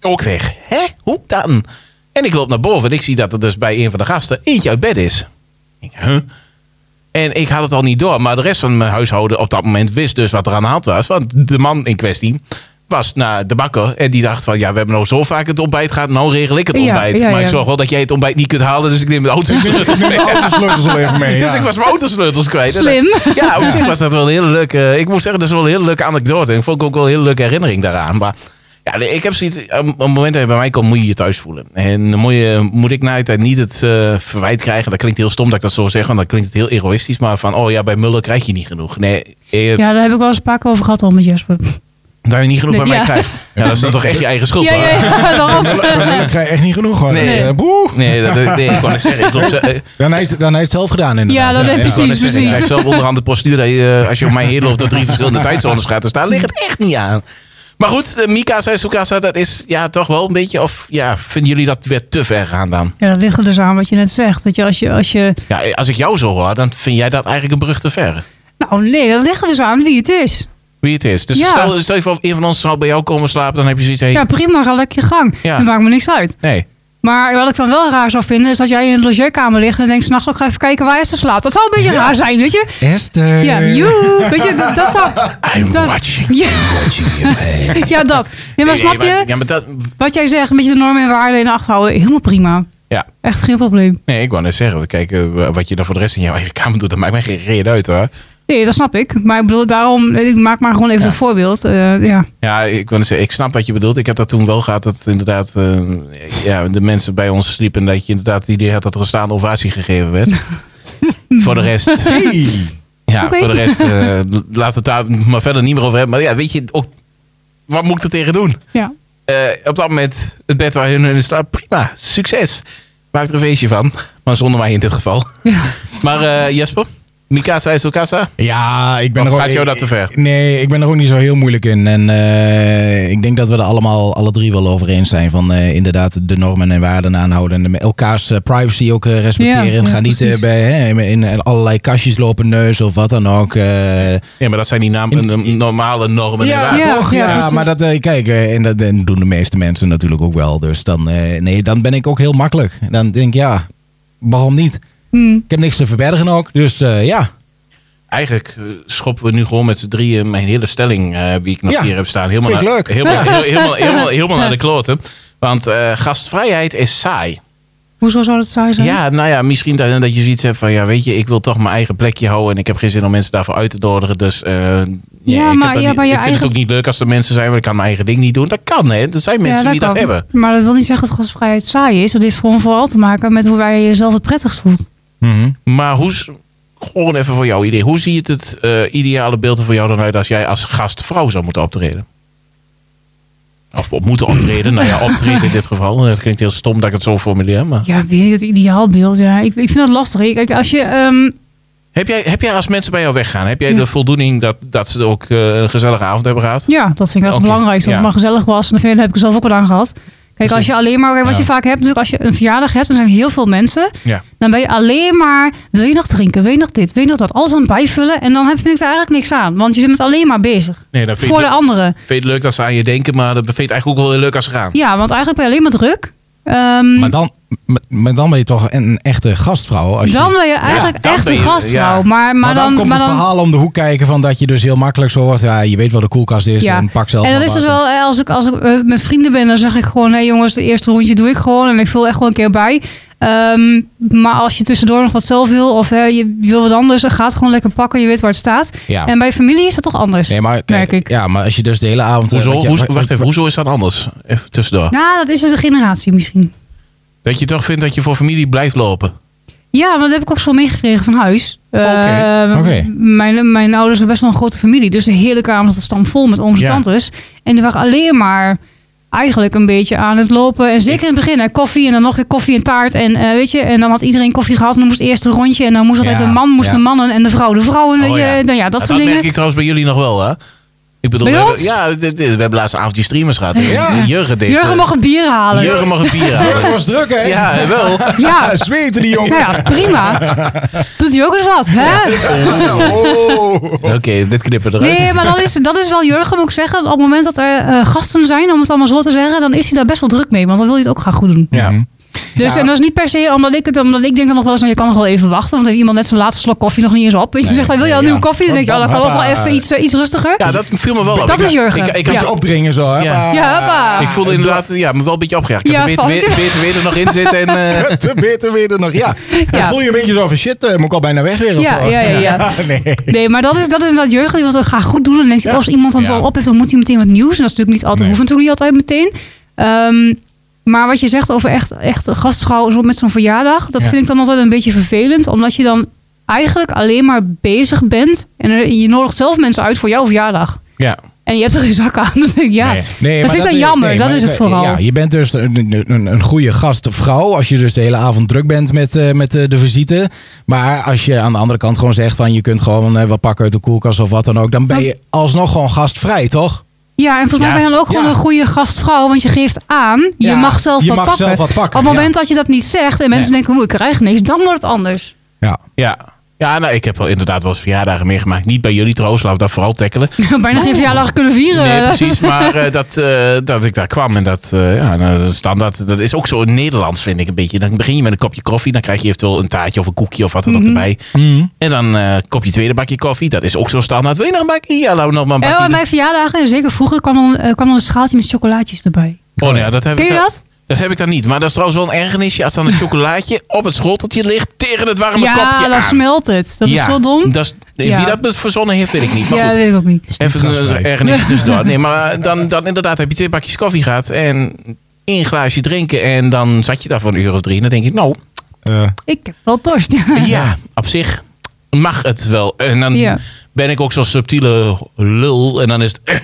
Ook weg. Hè? Hoe dan? En ik loop naar boven en ik zie dat er dus bij een van de gasten eentje uit bed is. Ik, denk, huh? En ik had het al niet door, maar de rest van mijn huishouden op dat moment wist dus wat er aan de hand was. Want de man in kwestie was naar de bakker en die dacht van ja, we hebben nou zo vaak het ontbijt gehad, nou regel ik het
Ja,
ontbijt.
ja,
maar ik
ja.
zorg wel dat jij het ontbijt niet kunt halen, dus ik neem de
[LAUGHS]
autosleutels mee.
Autosleutels al even mee.
[LAUGHS] Dus
ja.
ik was mijn autosleutels kwijt. En
Slim.
dat- Ja, op zich was dat wel een hele leuke. Ik moet zeggen, dat is wel een hele leuke anekdote. En ik vond ik ook wel een hele leuke herinnering daaraan. Maar ja, nee, ik heb zoiets. Op het moment dat je bij mij komt, moet je je thuis voelen. En dan moet, je, moet ik na de tijd niet het eh, verwijt krijgen. Dat klinkt heel stom dat ik dat zo zeg, want dan klinkt het heel egoïstisch. Maar van, oh ja, bij Muller krijg je niet genoeg. Nee, eh,
Ja, daar heb ik wel eens een paar keer over gehad al met Jasper.
dat je niet genoeg
Nee,
bij
ja.
mij krijgt. Ja, dat is dan toch echt je eigen schuld.
Ja,
hoor.
ja, ja,
[LAUGHS]
daarom.
Ik krijg echt niet genoeg. hoor.
Nee.
Eh, boe.
Nee, dat, nee, ik kon niet zeggen. Ik
[LAUGHS]
loop ze, eh,
Dan heeft, dan heeft het zelf gedaan inderdaad.
Ja, dat heeft
Ik wou net
Precies,
zeggen, Ik krijg
precies.
zelf onderhand de postuur dat je, eh, als je om mij heen loopt, dat drie verschillende tijdzones gaat te staan. Ligt het echt niet aan. Maar goed, eh, Mika zei Sukasa, dat is ja toch wel een beetje. Of ja, vinden jullie dat weer te ver gaan dan?
Ja, dat ligt er dus aan wat je net zegt. Dat je als je, als je...
Ja, eh, als ik jou zo hoor, dan vind jij dat eigenlijk een brug te ver.
Nou nee, dat ligt er dus aan wie het is.
Wie het is. Dus
Ja.
stel, stel je voor, een van ons zou bij jou komen slapen, dan heb je zoiets. Hey,
Ja, prima, ga lekker je gang.
Ja.
Dat maakt me niks uit.
Nee.
Maar wat ik dan wel raar zou vinden, is dat jij in een logeerkamer ligt en denkt, s'nachts ook ga even kijken waar Esther slaapt. Dat zou een beetje raar zijn, weet je?
Esther.
Ja, joe, weet je, dat- dat zou...
I'm
Dat-
watching.
Ja,
watching you, hey.
[LAUGHS] ja, dat. Nee, maar
Nee,
snap
maar-
je?
Ja, maar dat,
Wat jij zegt, een beetje de normen en waarden in acht houden, helemaal prima.
ja.
Echt geen probleem.
Nee, ik wou net zeggen. Kijk, eh, wat je [LAUGHS] dan voor de rest in jouw eigen kamer doet, dat maakt mij geen reden uit hoor.
Nee, dat snap ik. Maar ik bedoel, daarom, ik maak maar gewoon even
Ja.
het voorbeeld. Eh, ja.
Ja, ik, wil zeggen, ik snap wat je bedoelt. Ik heb dat toen wel gehad dat inderdaad eh, ja, de mensen bij ons sliepen. En dat je inderdaad het idee had dat er een staande ovatie gegeven
[LAUGHS]
werd. voor de rest,
Hey.
ja,
Oké.
voor de rest eh, laat het daar maar verder niet meer over hebben. Maar ja, weet je, ook, wat moet ik er tegen doen?
ja.
Eh, op dat moment, het bed waar hun in slaapt, prima,
[LAUGHS]
succes. Maak er een feestje van. Maar zonder mij in dit geval.
Ja.
Maar eh, Jesper, Mikasa is Okasa?
Ja, ik ben
Of
er ook,
gaat jou dat te ver?
ik- Nee, ik ben er ook niet zo heel moeilijk in. En eh, ik denk dat we er allemaal, alle drie wel over eens zijn. Van eh, inderdaad de normen en waarden aanhouden. En de- elkaars eh, privacy ook eh, respecteren.
Ja, ja,
Ga niet eh,
precies.
bij, hè, in, in allerlei kastjes lopen neus of wat dan ook. eh.
Ja, maar dat zijn die naam, n- normale normen. en
ja,
waarden.
Ja,
toch?
ja,
Ja,
precies.
maar dat, eh, kijk, eh, en dat en doen de meeste mensen natuurlijk ook wel. Dus dan, eh, nee, dan ben ik ook heel makkelijk. Dan denk ik, ja, waarom niet?
Hm.
Ik heb niks te verbergen ook. Dus eh, ja,
Eigenlijk eh, schoppen we nu gewoon met z'n drieën mijn hele stelling eh, die ik nog
Ja,
hier heb staan. Helemaal
vind ik
naar-
leuk.
Helemaal,
Ja.
heel-
[LAUGHS]
helemaal, helemaal, helemaal naar de kloten. Want eh, gastvrijheid is saai.
Hoezo zou dat saai zijn?
Ja, nou ja, misschien dat, dat je zoiets hebt van... ja, weet je, ik wil toch mijn eigen plekje houden... en ik heb geen zin om mensen daarvoor uit te doderen. Dus eh,
Ja,
ik,
maar-
heb dat
ja,
niet-
maar je
ik vind
eigen-
het ook niet leuk als er mensen zijn... want ik kan mijn eigen ding niet doen. Dat kan, hè. Er zijn mensen
Ja,
die dat
kan.
hebben.
Maar dat wil niet zeggen dat gastvrijheid saai is. Dat heeft gewoon vooral te maken met hoe jij jezelf het prettigst voelt.
Mhm.
Maar hoe... s- Gewoon even voor jouw idee. Hoe ziet het eh, ideale beeld er voor jou dan uit... als jij als gastvrouw zou moeten optreden? Of op moeten optreden. nou ja, optreden in dit geval. Dat klinkt heel stom dat ik het zo formuleer. Maar...
Ja, weet je, het ideaalbeeld. Ja, ik, ik vind dat lastig. Ik- Kijk, als je... ehm,
Heb, jij, heb jij als mensen bij jou weggaan... heb jij
Ja.
de voldoening dat, dat ze ook eh, een gezellige avond hebben gehad?
ja, dat vind ik echt
Oké,
belangrijk. Dat
ja.
het maar gezellig was. En dat vind ik- dat heb ik er zelf ook al aan gehad. Kijk, als
Precies.
je alleen maar... Kijk, wat
Ja.
je vaak hebt, natuurlijk als je een verjaardag hebt, dan zijn er heel veel mensen.
Ja.
Dan ben je alleen maar, wil je nog drinken? Wil je nog dit? Wil je nog dat? Alles aan het bijvullen. En dan heb, vind ik er eigenlijk niks aan. Want je bent alleen maar bezig.
Nee, dat vind
Voor
ik
de anderen.
Vind je het leuk dat ze aan je denken, maar dat vind je het eigenlijk ook wel heel leuk als ze gaan.
Ja, want eigenlijk ben je alleen maar druk.
Hm.
Ehm,
Maar, dan, maar- maar dan ben je toch een, een echte gastvrouw. Als je,
dan ben je eigenlijk
dan
echt
ben
een
je-
gastvrouw.
ja.
Maar, maar,
maar dan,
dan,
komt
maar
het
dan,
verhaal om de hoek kijken van dat je dus heel makkelijk zo wordt. Ja, je weet wat de koelkast is
Ja.
en pak zelf
en dat
maar
is
wat.
dus wel, eh, als ik, als ik eh, met vrienden ben, dan zeg ik gewoon: hé jongens, de eerste rondje doe ik gewoon. En ik vul echt gewoon een keer bij. Ehm, maar als je tussendoor nog wat zelf wil, of eh, je wil wat anders, dan gaat gewoon lekker pakken. Je weet waar het staat.
Ja.
En bij familie is dat toch anders?
Nee, maar, kijk,
merk ik.
ja, maar als je dus de hele avond...
Hoezo,
wat je-
hoezo,
wat-
wacht even, hoezo is dat anders? Even tussendoor.
Nou, dat is dus de generatie misschien.
Dat je toch vindt dat je voor familie blijft lopen.
Ja, maar dat heb ik ook zo meegekregen van huis. Eh, m-
Oké.
Mijn, mijn ouders hebben best wel een grote familie. Dus de hele kamer zat stampvol met ooms en
Ja.
tantes. En die waren alleen maar eigenlijk een beetje aan het lopen. En zeker in het begin, hè, koffie en dan nog weer koffie en taart. En, eh, weet je, en dan had iedereen koffie gehad en dan moest het eerste rondje. En dan moest altijd
Ja,
de man moest
ja.
de mannen en de vrouw de vrouwen. Weet
Oh,
je,
ja.
Nou ja, dat
Nou,
soort dingen.
merk ik trouwens bij jullie nog wel, hè? Ik bedoel,
Bij
we hebben,
ons?
ja, dit- dit- we hebben laatst een avondje streamers gehad.
Ja.
Jurgen deed
Jurgen
eh,
mag een bier halen.
Jurgen mag een bier
Het
halen.
was druk, hè?
Ja, wel.
Ja,
Ah, zweten die
nou
[LAUGHS] jongen.
ja, prima. Doet hij ook eens wat, hè?
Oh.
[LAUGHS] Oké, dit knippen we eruit.
Nee, maar dat is, dat is wel Jurgen, moet ik zeggen. Op het moment dat er eh, gasten zijn, om het allemaal zo te zeggen, dan is hij daar best wel druk mee. Want dan wil hij het ook graag goed doen.
Mhm.
Ja.
Dus
Ja.
en dat is niet per se omdat ik het, omdat ik denk dan nog wel eens, nou, je kan nog wel even wachten. Want heeft iemand net zijn laatste slok koffie nog niet eens op. Weet je,
Nee,
zegt hij, wil je al
nee,
een
ja.
nieuwe koffie? Dan denk je, oh, dan kan ook wel
Hoppa.
even iets, eh, iets rustiger.
Ja, dat viel me wel op.
Dat
Ik-
is Jurgen.
Ik, ik,
Kan
had-
je opdringen zo, hè?
Ja.
Ja, hoppa.
ik voelde inderdaad ja, me wel een beetje opgejaagd. Ik
Ja,
heb de
vond je?
BTW BTW er nog in zitten. En, eh,
[LAUGHS] Te beter weer er nog. Ja. Dan
Ja.
voel je een beetje zo van shit, eh, moet ik al bijna weg weer? of
Ja,
wat?
ja, ja, ja.
[LAUGHS] nee.
[LAUGHS] Nee, maar dat is, dat is inderdaad Jurgen. Die wil het graag goed doen. En dan denkt hij,
Ja.
als iemand dan het
Ja.
wel op heeft, dan moet hij meteen wat nieuws. En dat is natuurlijk niet altijd,
Nee.
hoeft natuurlijk niet altijd meteen. Ehm, maar wat je zegt over echt, echt gastvrouw zo met zo'n verjaardag. Dat
Ja.
vind ik dan altijd een beetje vervelend. Omdat je dan eigenlijk alleen maar bezig bent. En er- je nodigt zelf mensen uit voor jouw verjaardag.
ja.
En je hebt er geen zak aan. [LAUGHS] Dan denk ik, ja.
Nee.
Nee,
Dat
maar
vind ik wel jammer, dat
maar
is het
ik-
vooral.
Ja, je bent dus een, een, een goede gastvrouw als je dus de hele avond druk bent met, eh, met eh, de visite. Maar als je aan de andere kant gewoon zegt van je kunt gewoon eh, wat pakken uit de koelkast of wat dan ook. Dan ben je alsnog gewoon gastvrij, toch?
Ja, en volgens mij
Ja.
ben je dan ook gewoon
Ja.
een goede gastvrouw. Want je geeft aan, je
Ja,
mag zelf
je
wat
mag
pakken.
zelf wat pakken,
Op het
ja.
moment dat je dat niet zegt en mensen
Nee.
denken, hoe ik krijg niks. Dan wordt het anders.
Ja.
Ja. Ja, nou, ik heb wel inderdaad wel eens verjaardagen meegemaakt. Niet bij jullie trouwens, laten we dat vooral tackelen.
[LAUGHS] Bijna geen verjaardag kunnen vieren.
Nee, precies. Maar eh, dat, eh, dat ik daar kwam en dat, eh, ja, nou, dat is standaard, dat is ook zo in Nederlands, vind ik een beetje. Dan begin je met een kopje koffie, dan krijg je eventueel een taartje of een koekje of wat dan
Mhm.
ook erbij. En dan eh kop je tweede bakje koffie, dat is ook zo standaard. Wil je nog een bakje? Ja, laten we nog maar een
Ja,
bakje.
maar bij verjaardagen, en zeker vroeger, kwam dan, eh, kwam dan een schaaltje met chocolaatjes erbij.
doen. Oh nee, ja, dat heb
Ken
ik
je
dan-
dat?
Dat heb ik dan niet. Maar dat is trouwens wel een ergernisje
[LAUGHS]
als dan een chocolaatje op het schoteltje ligt tegen het warme
ja,
kopje
dan
aan.
smelt het. Dat is
Ja,
zo dom.
Dat is,
Ja.
Wie dat verzonnen heeft, weet ik niet. Maar
ja,
goed.
dat weet ik ook niet.
Even
Gastvrij.
een ergernisje tussendoor. Nee, maar eh, dan, dan inderdaad heb je twee bakjes koffie gehad en één glaasje drinken. En dan zat je daar voor een uur of drie. En dan denk ik, nou,
Eh,
Ik heb wel dorst. [LAUGHS]
ja, op zich mag het wel. En dan
Ja.
ben ik ook zo'n subtiele lul. En dan is het...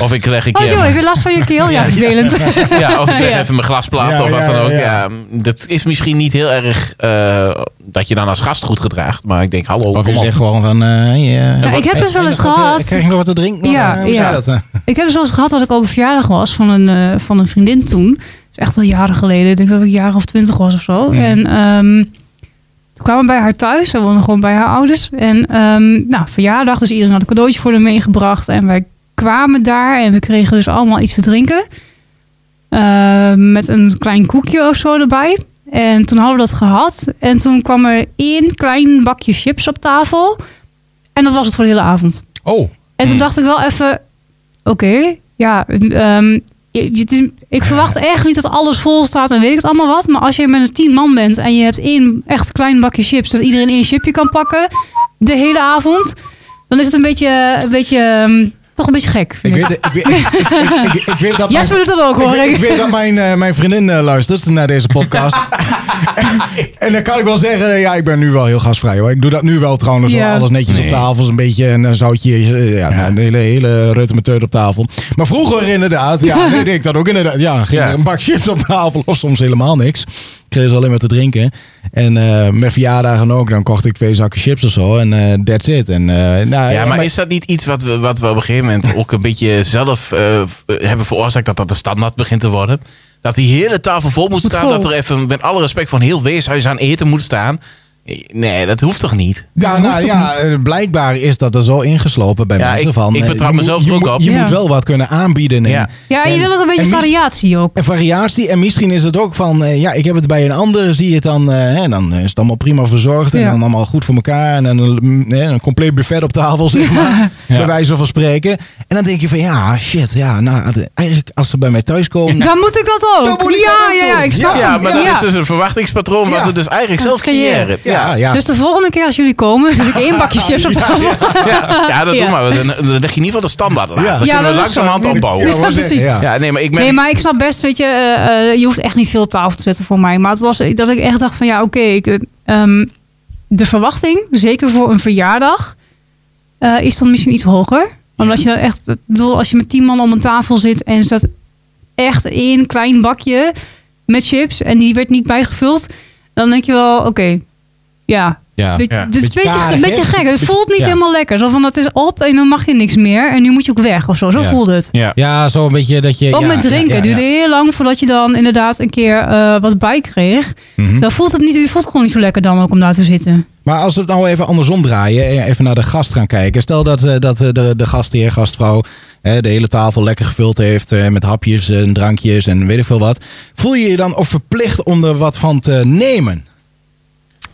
of ik leg een
Oh
keer...
joh, heb je last van je keel? Ja, vervelend.
[LAUGHS] Ja, of ik leg
Ja.
even mijn glasplaat
Ja,
of wat
ja,
dan ook. Ja.
ja.
dat is misschien niet heel erg eh, dat je dan als gast goed gedraagt. Maar ik denk, hallo,
Of je
kom op.
zegt gewoon van... eh, ja.
Ja, ik heb dus wel eens gehad.
Krijg ik nog wat te drinken?
Ja,
Eh, hoe
ja.
zei dat? eh?
Ik heb dus wel eens gehad dat ik op een verjaardag was van een, eh, van een vriendin toen. Dat is echt al jaren geleden. Ik denk dat ik een jaar of twintig was of zo.
Mhm.
En ehm, toen kwamen we bij haar thuis. Ze woonde gewoon bij haar ouders. En ehm, nou, verjaardag, dus iedereen had een cadeautje voor haar meegebracht. En wij kwamen daar en we kregen dus allemaal iets te drinken. Ehm, met een klein koekje of zo erbij. En toen hadden we dat gehad. En toen kwam er één klein bakje chips op tafel. En dat was het voor de hele avond.
Oh,
En toen
Hmm.
dacht ik wel even, oké, ja, ehm, je- je- het is, ik verwacht echt niet dat alles vol staat en weet ik het allemaal wat. Maar als je met een tien man bent en je hebt één echt klein bakje chips, dat iedereen één chipje kan pakken de hele avond, dan is het een beetje, een beetje ehm, toch een beetje gek.
ik
vind ik.
weet, ik, weet- [LAUGHS] ik, ik, ik, ik- ik weet dat... mijn-
Jasper doet dat ook hoor.
Ik,
Ik,
ik weet dat mijn, eh, mijn vriendin eh, luistert naar deze podcast. en, en dan kan ik wel zeggen, eh, ja, ik ben nu wel heel gasvrij hoor. Ik doe dat nu wel trouwens,
Ja.
wel alles netjes
Nee.
op tafel. Een beetje een zoutje, eh, ja, nou, een hele, hele reutemeteut op tafel. Maar vroeger inderdaad, ja, nee, deed ik dat ook inderdaad. Ja, ging
Ja.
er een bak chips op tafel of soms helemaal niks. Ik kreeg ze alleen maar te drinken. En eh, met verjaardagen ook, dan kocht ik twee zakken chips of zo. En eh that's it. En, eh, nou,
Ja, maar is dat niet iets wat we, wat we op een gegeven
[LAUGHS]
moment ook een beetje zelf eh, v- hebben veroorzaakt dat dat de standaard begint te worden? Dat die hele tafel vol moet staan,
vol.
dat er even met alle respect van heel weeshuis aan eten moet staan. Nee, dat hoeft toch niet?
Ja,
Dat
nou
hoeft toch
ja, eh, blijkbaar is dat er zo ingeslopen bij
Ja,
mensen
ik-
van.
ik
eh,
betrap
je
mezelf
moet,
er
je
ook
moet-
op.
Je
Ja.
moet wel wat kunnen aanbieden. En,
Ja.
ja, je
en-
wil het een beetje
en mis-
variatie ook.
en variatie. En misschien is het ook van, eh, ja, ik heb het bij een ander, zie je het dan. eh, hè, en dan is het allemaal prima verzorgd. En
Ja.
dan allemaal goed voor elkaar. En dan een, mm, hè, een compleet buffet op tafel, [LAUGHS] zeg maar.
Ja.
Bij wijze van spreken. En dan denk je van, ja, shit. Ja, nou, het- eigenlijk als ze bij mij thuis komen.
Dan moet ik dat ook.
Dan moet ik
ja,
dat ook
ja, ja,
doen.
ik snap
Ja,
ja,
hem.
maar dat
Ja.
is dus een verwachtingspatroon wat
Ja.
we dus eigenlijk
Dat
zelf
creëren.
creëren.
ja, ja.
Dus de volgende keer als jullie komen, zet ik
[LAUGHS]
één bakje chips op tafel.
Ja, ja, dat
Ja.
doen maar. Dan, dan leg je in ieder geval de standaard laag.
Ja.
Dan
Ja,
kunnen we
dat is zo.
langzamerhand opbouwen.
Ja,
wou
precies.
zeggen, ja.
Ja, nee, maar ik merk...
Nee, maar ik snap best, weet je, eh, eh, je hoeft echt niet veel op tafel te zetten voor mij. Maar het was eh, dat ik echt dacht van ja, oké, ik, eh, ehm, de verwachting, zeker voor een verjaardag, eh, is dan misschien iets hoger. Omdat je dan echt, ik bedoel, als je met tien man om een tafel zit en er staat echt één klein bakje met chips en die werd niet bijgevuld, dan denk je wel, oké, ja,
Ja.
Weet je,
Ja.
dit is een
Beetje
beetje,
karig,
een
hè?
beetje gek. Het
Beetje-
voelt niet
ja.
helemaal lekker. Zo van, dat is op en dan mag je niks meer. En nu moet je ook weg of zo. Zo
Ja.
voelde het.
Ja.
Ja, zo een beetje dat je...
Ook
ja,
met
ja,
drinken.
ja, ja.
duurde heel lang voordat je dan inderdaad een keer eh, wat bij kreeg.
Mhm.
Dan voelt het niet, het voelt gewoon niet zo lekker dan ook om daar te zitten.
Maar als we het nou even andersom draaien, eh, even naar de gast gaan kijken. Stel dat, eh, dat eh, de, de gastheer, gastvrouw eh, de hele tafel lekker gevuld heeft eh, met hapjes en drankjes en weet ik veel wat. Voel je je dan ook verplicht om er wat van te nemen?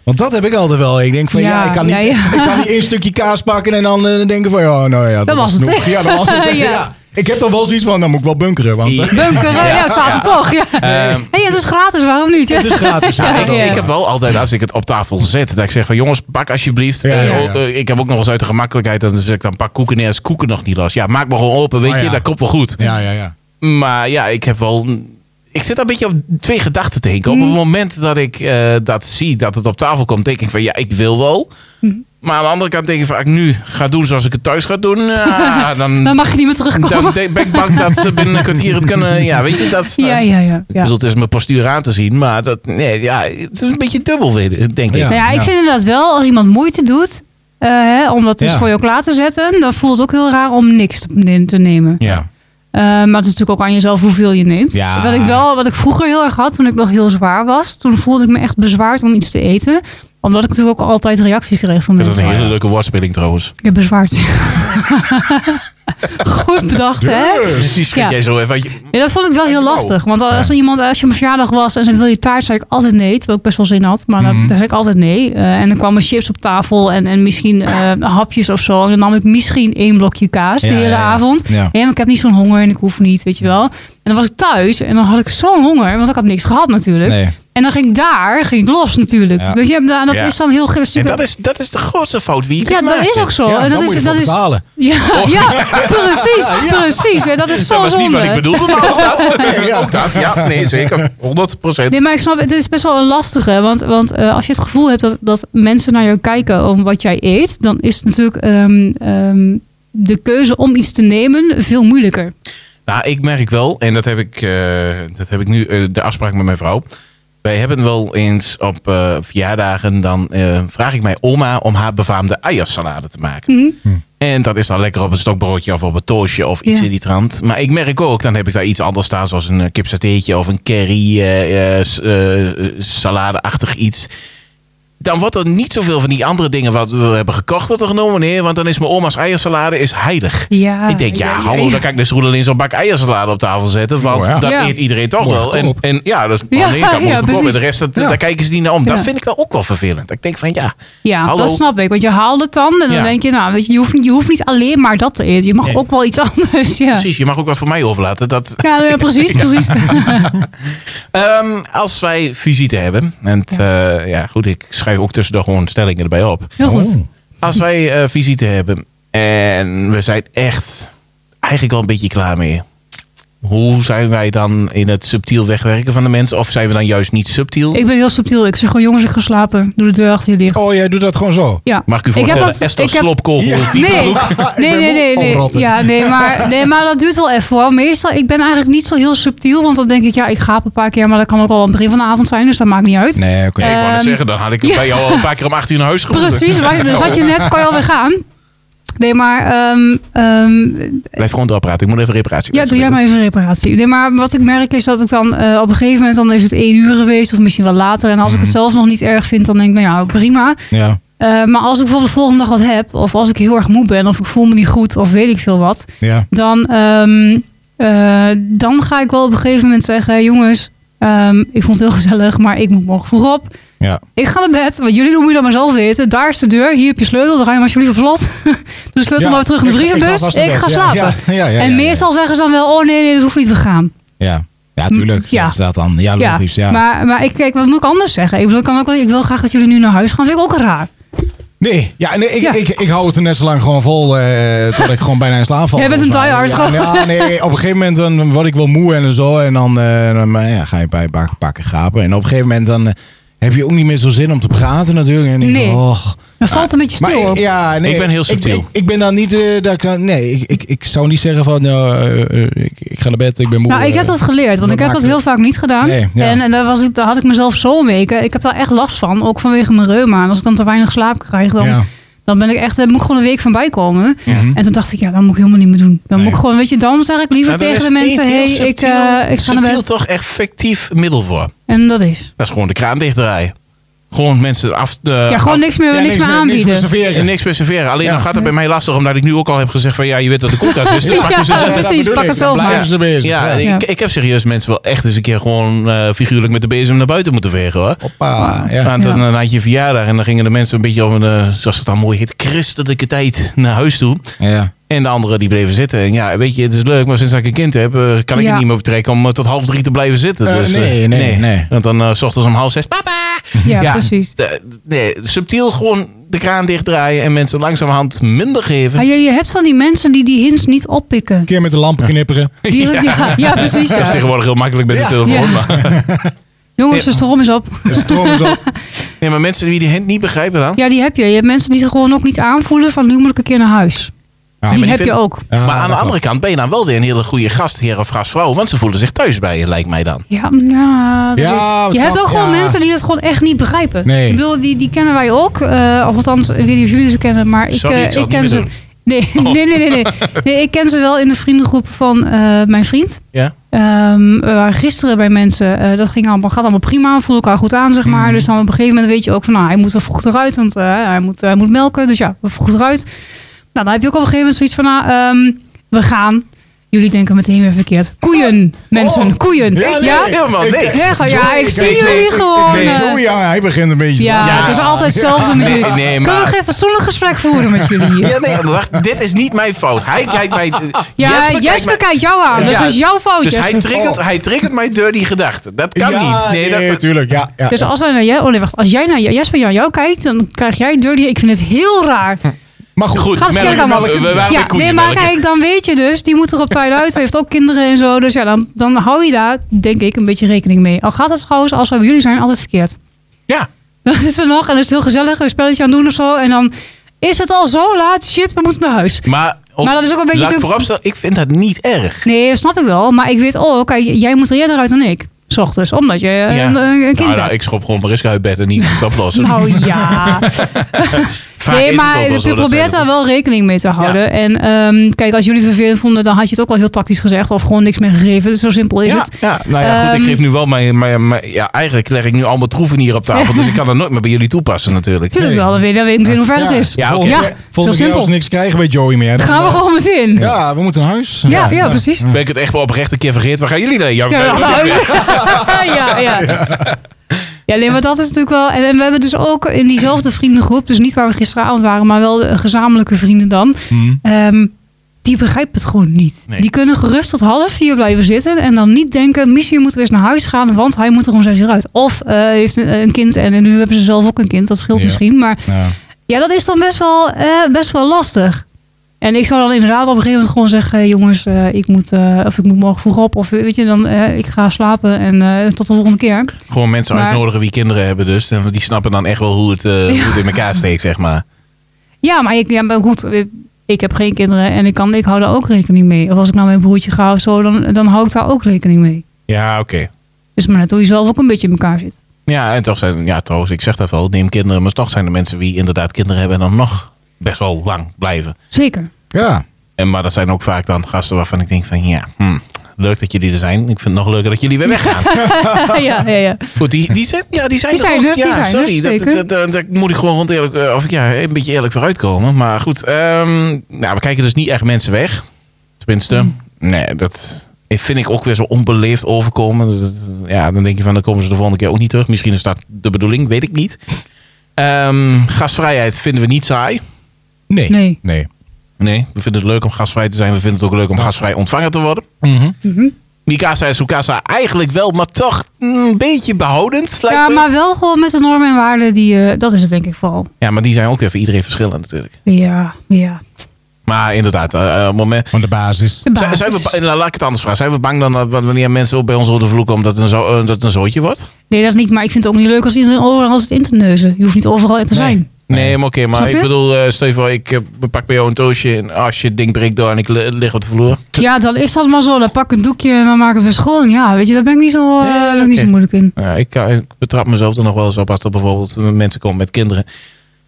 Want dat heb ik altijd wel. Ik denk van ja,
Ja,
ik, kan niet,
ja, ja.
ik kan niet één stukje kaas pakken en dan eh, denken van ja, nou ja, dat,
was
is
het.
genoeg. Ja, dat was het.
[LAUGHS]
ja.
Ja.
Ik heb dan wel zoiets van, dan moet ik wel bunkeren. Want eh,
Bunkeren, ja, zaten toch. Ja.
Ehm,
Hey, het is gratis, waarom niet? Ja.
het is
[LAUGHS]
gratis.
Ja,
Ja,
Ik,
dat-
ja.
ik heb wel altijd, als ik het op tafel zet, dat ik zeg van jongens, pak alsjeblieft.
Ja,
Eh,
ja, ja.
oh, eh, ik heb ook nog eens uit de gemakkelijkheid, dan zeg ik dan pak koeken neer, is koeken nog niet los. Ja, maak me gewoon open, weet
Oh,
je,
ja.
dat komt wel goed.
ja, ja, ja.
Maar ja, ik heb wel... Ik zit daar een beetje op twee gedachten te hinken. Op
Mm.
het moment dat ik eh, dat zie, dat het op tafel komt, denk ik van ja, ik wil wel.
Mm.
Maar aan de andere kant denk ik van, als ik nu ga doen zoals ik het thuis ga doen,
[LAUGHS]
ja, dan,
Dan mag je niet meer
dan
terugkomen.
ben ik bang dat ze binnen een kwartier het kunnen. Ja, weet je, dat
[LAUGHS]
is...
Ja, ja, ja.
Ik
ja.
bedoel, het is mijn postuur aan te zien, maar dat, nee, ja, het is een beetje dubbel, weet- denk ik.
Ja.
Nou ja, ik
ja.
vind inderdaad wel, als iemand moeite doet eh, hè, om dat dus
Ja.
voor je ook klaar te zetten, dan voelt het ook heel raar om niks te- te nemen.
Ja.
Eh, maar het is natuurlijk ook aan jezelf hoeveel je neemt.
Ja.
Wat ik wel, wat ik vroeger heel erg had toen ik nog heel zwaar was, toen voelde ik me echt bezwaard om iets te eten. Omdat ik natuurlijk ook altijd reacties kreeg van
Dat is
mensen.
een hele leuke woordspeling trouwens.
Ik heb bezwaard. [LAUGHS] Goed bedacht, hè?
Die schiet
Ja.
jij zo even uit je...
Ja, dat vond ik wel
Oh.
heel lastig. Want als er iemand, als je op een verjaardag was en ze wil je taart, zei ik altijd nee. Terwijl ik best wel zin had, maar dat-
Mhm.
daar zei ik altijd nee. Eh, en dan kwamen chips op tafel en, en misschien eh, hapjes of zo. En dan nam ik misschien één blokje kaas
Ja,
de hele
ja, ja.
avond.
Ja.
Ja, maar ik heb niet zo'n honger en ik hoef niet, weet je wel. En dan was ik thuis en dan had ik zo'n honger, want ik had niks gehad natuurlijk.
Nee.
En dan ging ik daar ging ik los natuurlijk.
Ja.
Weet je, en da- dat
Ja.
is dan heel gek.
En dat is, dat is de grootste fout wie je
ja,
kunt
dat
maken.
is ook zo.
Ja,
Oh, en
dan
dat
moet
is,
je
dat
ervoor
is,
betalen.
ja, ja,
Oh.
precies,
[LAUGHS]
precies. En dat is zo
Dat was niet
zonde.
wat ik bedoelde,
[LAUGHS]
maar ook dat. [LAUGHS] Ook dat, ja. Nee, zeker. 100
Nee, maar ik snap, het is best wel een lastige. Want, want eh, als je het gevoel hebt dat, dat mensen naar jou kijken om wat jij eet, dan is het natuurlijk ehm, ehm, de keuze om iets te nemen veel moeilijker.
Nou, ik merk wel, en dat heb ik, eh, dat heb ik nu, eh, de afspraak met mijn vrouw. Wij hebben wel eens op eh, verjaardagen, dan eh, vraag ik mijn oma om haar befaamde eiersalade te maken.
Mhm.
En dat is dan lekker op een stokbroodje of op een toosje of iets
Ja.
in die trant. Maar ik merk ook, dan heb ik daar iets anders staan, zoals een eh, kipsateetje of een curry, eh, eh, s- eh, eh, saladeachtig iets. Dan wordt er niet zoveel van die andere dingen wat we hebben gekocht, wordt er genomen. Nee, want dan is mijn oma's eiersalade is heilig.
Ah, Ja,
Ik denk, ja, hallo, dan kan ik de roedel in zo'n bak eiersalade op tafel zetten. Want
Oh, ja.
dat
Ja.
eet iedereen toch
Mooi
wel. En,
goedkoop.
en ja, dat is
Ja,
ja, nee, dat
ja,
moet
precies.
goedkoop. En de rest, dat,
Ja.
daar kijken ze niet naar om.
Ja.
Dat vind ik dan ook wel vervelend. Ik denk van, ja,
Ja,
Hallo.
dat snap ik. Want je haalt het dan en dan
Ja.
denk je, nou, weet je, je hoeft, niet- je hoeft niet alleen maar dat te eten. Je mag
Nee.
ook wel iets [LAUGHS] anders. Ja,
precies, je mag ook wat voor mij overlaten. Dat,
ja, ja, precies, precies.
Ehm, als wij visite hebben, en t- eh, ja. goed, ik schrijf ook tussendoor gewoon stellingen erbij op.
Heel goed.
Oh.
Als wij eh, visite hebben en we zijn echt eigenlijk al een beetje klaar mee. Hoe zijn wij dan in het subtiel wegwerken van de mensen? Of zijn we dan juist niet subtiel?
Ik ben heel subtiel. Ik zeg gewoon, jongens, ik ga slapen. Doe de deur achter je dicht.
Oh, jij doet dat gewoon zo.
Ja.
Mag ik u
heb
voorstellen,
dat-
Esther
ik heb-
Slopkogel,
Ja.
die
Nee.
broek.
Ah, Ik
Nee,
ben
nee,
wel
nee. nee.
omrotten.
Ja, nee, maar, nee, maar dat duurt wel even hoor. Meestal, ik ben eigenlijk niet zo heel subtiel. Want dan denk ik, ja, ik gaap een paar keer. Maar dat kan ook al aan het begin van de avond zijn. Dus dat maakt niet uit.
Nee, oké.
Ik wou net
Ehm,
zeggen, dan had ik het bij jou al een paar keer om 18 uur naar huis geroepen.
Precies, waar, dan zat je net, kan je alweer gaan. Nee, maar... ehm, ehm,
Blijf gewoon doorpraten, ik moet even reparatie
ja, doe jij maar even een reparatie. Nee, maar wat ik merk is dat ik dan eh, op een gegeven moment... dan is het één uur geweest of misschien wel later. En als ik het
Mhm.
zelf nog niet erg vind, dan denk ik, nou ja, prima.
Ja,
Eh, maar als ik bijvoorbeeld de volgende dag wat heb... of als ik heel erg moe ben of ik voel me niet goed of weet ik veel wat...
ja.
dan, ehm, eh, dan ga ik wel op een gegeven moment zeggen: jongens, ehm, ik vond het heel gezellig, maar ik moet morgen vroeg op.
Ja.
Ik ga naar bed, want jullie moeten dat maar zelf weten. Daar is de deur, hier heb je sleutel, dan ga je hem alsjeblieft op slot. [LAUGHS] Doe de sleutel
Ja,
maar terug in de
ik- ik ga
brievenbus.
vast
Ik,
naar bed.
ga
Ja,
slapen.
Ja, ja, ja, ja,
en
ja,
meestal zeggen ze dan wel: oh nee, nee, dat hoeft niet, we gaan.
Ja, ja tuurlijk.
Ja.
Ja. dat dan. Ja, logisch. Ja.
Maar, maar ik, kijk, wat moet ik anders zeggen? Ik bedoel, ik, kan ook wel, ik wil graag dat jullie nu naar huis gaan. Vind ik ook raar.
Nee, ja, nee ik,
Ja.
Ik, ik hou het er net zo lang gewoon vol eh tot ik gewoon bijna in slaap val.
Jij bent een
volgens mij.
diehard
Ja, nou, nee, op een gegeven moment dan word ik wel moe en zo. En dan, eh, dan, eh, ja, ga je bij een paar pakken gapen. En op een gegeven moment dan eh, heb je ook niet meer zo zin om te praten natuurlijk. En dan denk je,
Nee.
och.
Dan valt het een beetje
Maar
stil.
ik-
ook.
ja, nee,
Ik ben heel subtiel.
Ik, ik ben dan niet... eh, dat ik, dan- nee, ik, ik, ik zou niet zeggen van... nou, eh, eh, ik, ik ga naar bed, ik ben moe.
Nou, ik heb
eh,
dat geleerd, want
dat
ik heb
maakt
dat heel
het-
vaak niet gedaan.
Nee, ja.
En, en daar, was ik, daar had ik mezelf zo mee. Ik, ik heb daar echt last van, ook vanwege mijn reuma. En als ik dan te weinig slaap krijg, dan,
ja.
dan ben ik echt, daar moet ik gewoon een week van bijkomen.
Mhm.
En toen dacht ik, ja, dat moet ik helemaal niet meer doen. Dan
Nee.
moet ik gewoon, weet je, dan zeg ik liever
Nou, daar
tegen
is
de mensen,
één heel
hey, ik,
subtiel-
eh, ik ga naar
subtiel
bed.
toch echt fictief middel voor.
En dat is.
Dat is gewoon de kraan dichtdraaien. Gewoon mensen af... eh,
Ja, gewoon
af-
niks meer,
Ja,
niks meer
Niks
aanbieden.
meer serveren.
en niks reserveren. Alleen
Ja.
dan gaat het bij mij lastig, omdat ik nu ook al heb gezegd van ja, je weet wat de koelkast
[LAUGHS]
is. Dus
Ja.
pak je ze
Ja.
zelf.
precies,
dat bedoel
pak
ik.
het
Dan
zelf
blijven
maar.
ze bezig.
Ja,
Ja.
Ik, ik heb serieus mensen wel echt eens een keer gewoon eh, figuurlijk met de bezem naar buiten moeten vegen hoor.
Hoppa, ja.
Want dan,
Ja.
dan had je verjaardag en dan gingen de mensen een beetje op een, eh, zoals het dan mooi heet, christelijke tijd naar huis toe.
Ja.
En de anderen die bleven zitten. En ja, weet je, het is leuk, maar sinds dat ik een kind heb, eh, kan ik
Ja.
het niet meer betrekken om eh, tot half drie te blijven zitten.
Eh,
dus, eh,
nee, nee, nee.
Want dan eh, s ochtends om half zes, papa!
Ja,
Ja.
precies.
Eh, nee, subtiel gewoon de kraan dichtdraaien en mensen langzamerhand minder geven.
Maar Ah, je, je hebt van die mensen die die hints niet
[LAUGHS]
oppikken.
Een keer met de lampen knipperen.
Die, ja. Ja, precies.
Dat is
Ja.
tegenwoordig heel makkelijk met de
Ja.
telefoon.
Ja.
Maar, [LAUGHS]
Jongens, de stroom is op.
De stroom is op.
nee, maar mensen die die hint niet begrijpen dan.
Ja, die heb je. Je hebt mensen die zich gewoon ook niet aanvoelen van nu moet ik een keer naar huis.
Ja,
die
die
heb
vind-
je ook.
Ja,
[LAUGHS]
Ah,
maar aan de
dat
andere kant ben je dan wel weer een hele goede gastheer of gastvrouw. Want ze voelen zich thuis bij je, lijkt mij dan.
Ja, ja, dat
Ja,
is-
het
je hebt
kan-
ook gewoon
ja.
mensen die dat gewoon echt niet begrijpen.
Nee.
Ik bedoel, die, die kennen wij ook. eh, of althans, ik weet niet of jullie ze kennen, maar ik,
Sorry,
eh,
ik zal het
ken
niet
ze.
meer Oh.
Nee, [LAUGHS] nee, nee, nee, nee. Nee, Ik ken ze wel in de vriendengroep van eh, mijn vriend.
Ja.
Ehm, we waren gisteren bij mensen, eh, dat ging allemaal, gaat allemaal prima, voelen elkaar goed aan, zeg maar. Dus dan op een gegeven moment weet je ook van, nou, hij moet er vroeg eruit, want eh, hij, moet, hij moet melken. Dus ja, we vroeg eruit. Nou, dan heb je ook op een gegeven moment zoiets van, nou, ehm, we gaan. Jullie denken meteen weer verkeerd. Koeien, mensen,
Oh.
koeien.
Ja,
Ja,
nee,
ja?
Helemaal niks.
gewoon- ja, ik zie
ik-
jullie
ik- ik-
gewoon.
nee,
eh,
zo, ja, hij begint een beetje. te
ja,
Ja.
het is altijd hetzelfde met jullie.
Nee, nee,
Kunnen
maar-
we geen fatsoenlijk gesprek voeren met jullie hier?
Ja, nee, [LAUGHS] maar wacht, dit is niet mijn fout. Hij kijkt mij.
Ja,
Jesper
Jesper,
kijkt mij-
kijkt jou aan, dus
Ja,
dat is jouw fout,
Dus hij
Jesper.
triggert,
Oh.
hij triggert mijn dirty gedachten. Dat kan
ja,
niet. Nee, dat,
tuurlijk. Ja, ja.
Dus als, wij naar jij, oh nee, wacht, als jij naar Jesper naar jou kijkt, dan krijg jij dirty. Ik vind het heel raar.
maar goed,
Goed,
Gaat
melk,
verkeerd aan
we we
melk.
waren weer
Ja,
Hm. koeien
nee, maar
melken.
kijk, dan weet je dus, die moet er op tijd uit. Hij heeft ook kinderen en zo. Dus ja, dan, dan hou je daar, denk ik, een beetje rekening mee. Al gaat het trouwens, als we bij jullie zijn, altijd verkeerd. [LAUGHS]
Ja,
Dan zitten we nog en dan is het heel gezellig. Een spelletje aan het doen of zo. En dan is het al zo laat. Shit, we moeten naar huis.
maar, ook-
Maar dat is ook een beetje
Laat ik
natuurlijk-
vooropstellen, ik vind dat niet erg.
Nee, dat snap ik wel. Maar ik weet ook, kijk, jij moet er eerder uit dan ik. S ochtends, omdat je eh, een, een kind
nou, nou,
hebt.
ik schop gewoon Mariska uit bed en niet moet oplossen.
Nou
[LAUGHS]
ja.
Vaak is
nee,
het
maar
ook wel zo,
je
dat
probeert
zijn
daar
we-
wel rekening mee te houden.
Ja.
En ehm, kijk, als jullie het vervelend vonden, dan had je het ook wel heel tactisch gezegd. Of gewoon niks meer gegeven. Dus Zo simpel is
ja,
het.
ja, nou ja, goed, ik
Ehm,
geef nu wel mijn, mijn, mijn- Ja, eigenlijk leg ik nu allemaal troeven hier
[LAUGHS]
op tafel. Dus ik kan dat nooit meer bij jullie toepassen natuurlijk.
Tuurlijk
Nee.
wel, dan weet je niet in hoeverre
ja.
het is.
Ja,
volgende
oké.
keer-
Ja,
volgende
zo
keer als we
simpel.
niks krijgen bij Joey meer. dan-
Gaan we gewoon meteen. Ja,
Ja, nou. we moeten naar huis.
ja, precies.
Ben ik het echt wel oprecht een keer vergeten? Waar gaan jullie [LAUGHS] dan? Jank,
Ja, [LAUGHS] ja, ja. Ja, nee, maar dat is natuurlijk wel. En, en we hebben dus ook in diezelfde vriendengroep, dus niet waar we gisteravond waren, maar wel de gezamenlijke vrienden dan.
Hmm.
ehm, die begrijpen het gewoon niet.
Nee.
Die kunnen gerust tot half vier blijven zitten en dan niet denken: misschien moeten we eens naar huis gaan, want hij moet er om zes uur uit. Of eh, heeft een, een kind en, en nu hebben ze zelf ook een kind, dat scheelt
Ja.
misschien. Maar
Ja.
ja, dat is dan best wel, eh, best wel lastig. En ik zou dan inderdaad op een gegeven moment gewoon zeggen: jongens, eh, ik, moet, eh, of ik moet morgen vroeg op. Of weet je, dan eh, ik ga slapen en eh, tot de volgende keer.
Gewoon mensen
Maar-
uitnodigen die kinderen hebben dus. En Die snappen dan echt wel hoe het, eh, hoe het in elkaar steekt, zeg maar.
Ja, maar, ik, ja, maar goed, ik- ik heb geen kinderen en ik, kan, ik hou daar ook rekening mee. Of als ik naar mijn broertje ga of zo, dan, dan hou ik daar ook rekening mee.
Ja, oké.
Dus maar net hoe je zelf ook een beetje in elkaar zit.
Ja, en toch zijn, ja, trouwens, ik zeg dat wel, neem kinderen, maar toch zijn er mensen die inderdaad kinderen hebben en dan nog best wel lang blijven.
Zeker.
ja.
En, maar dat zijn ook vaak dan gasten waarvan ik denk van, ja, hm, leuk dat jullie er zijn. Ik vind het nog leuker dat jullie weer weggaan.
ja, ja, ja.
Goed, die, die zijn, ja, die zijn
Die
er
zijn
ook.
er, die
ja,
zijn er,
sorry, dat,
zeker.
dat, dat- dat moet ik gewoon rond eerlijk, eh, of ik, ja, een beetje eerlijk vooruitkomen. Maar goed, ehm, nou, we kijken dus niet echt mensen weg. Tenminste, nee, dat vind ik ook weer zo onbeleefd overkomen. Dat- dat- Ja, dan denk je van, dan komen ze de volgende keer ook niet terug. Misschien is dat de bedoeling, weet ik niet. Ehm, gastvrijheid vinden we niet saai.
Nee.
Nee.
Nee.
Nee, we vinden het leuk om gastvrij te zijn. We vinden het ook leuk om gastvrij ontvangen te worden. Mikasa is Sukasa eigenlijk wel, maar toch een beetje behoudend. lijkt
Ja,
me.
maar wel gewoon met de normen en waarden, die, eh, dat is het denk ik vooral.
Ja, maar die zijn ook weer voor iedereen verschillend natuurlijk.
Ja, ja.
Maar inderdaad, eh, eh, moment.
Van de basis.
De
Zijn, zijn we,
basis.
ba- nou, laat ik het anders vragen. Zijn we bang dan dat wanneer mensen ook bij ons worden vloeken omdat het een, zo, eh, dat het een zootje wordt?
Nee, dat niet. Maar ik vind het ook niet leuk als iedereen overal zit in te neuzen. Je hoeft niet overal in te
Nee.
zijn.
Nee, maar oké. maar
Snap je?
ik bedoel, eh stel je voor, ik eh, pak bij jou een doosje en als je ding breekt door en ik li- lig op de vloer.
Ja, dan is dat maar zo. Dan pak ik een doekje en dan maak ik het weer schoon. Ja, weet je, daar ben ik niet zo, eh,
Nee,
daar ben ik
oké.
niet zo moeilijk in.
Nou Ja, ik, kan- ik betrap mezelf er nog wel eens op als er bijvoorbeeld mensen komen met kinderen.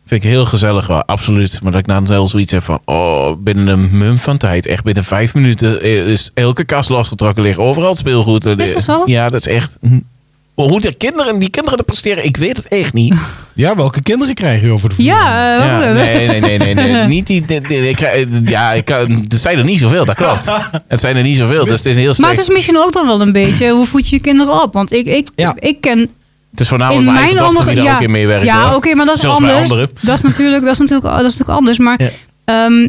Vind ik heel gezellig, hoor, absoluut. Maar dat ik dan wel zoiets heb van, oh, binnen een mum van tijd, echt binnen vijf minuten, eh, is elke kast losgetrokken liggen. Overal het speelgoed. En,
Is dat
eh,
zo?
Ja, dat is echt... hm. Hoe de kinderen, die kinderen dat presteren, ik weet het echt
[LAUGHS]
niet.
Ja, welke kinderen krijgen je over de vloer?
Ja, eh, wat
Ja,
goed. [LAUGHS]
nee, nee, nee, nee, nee. Niet die, die- die- ik krijg- ja, ik, kan- er zijn er niet zoveel, dat
[LAUGHS]
klopt. Het zijn er niet zoveel, dus het is een heel
Maar
sterk.
het is misschien ook dan wel een beetje, hoe voed je je kinderen op? Want ik, ik,
Ja.
ik ken
het is voornamelijk
in
mijn
mijn
eigen dochter die
omgeving...
daar ook in meewerkt.
ja
hoor.
oké, maar dat is
Zelfs bij
anders.
anderen.
Dat is natuurlijk, dat is natuurlijk, dat is natuurlijk anders. Maar
Ja.
ehm,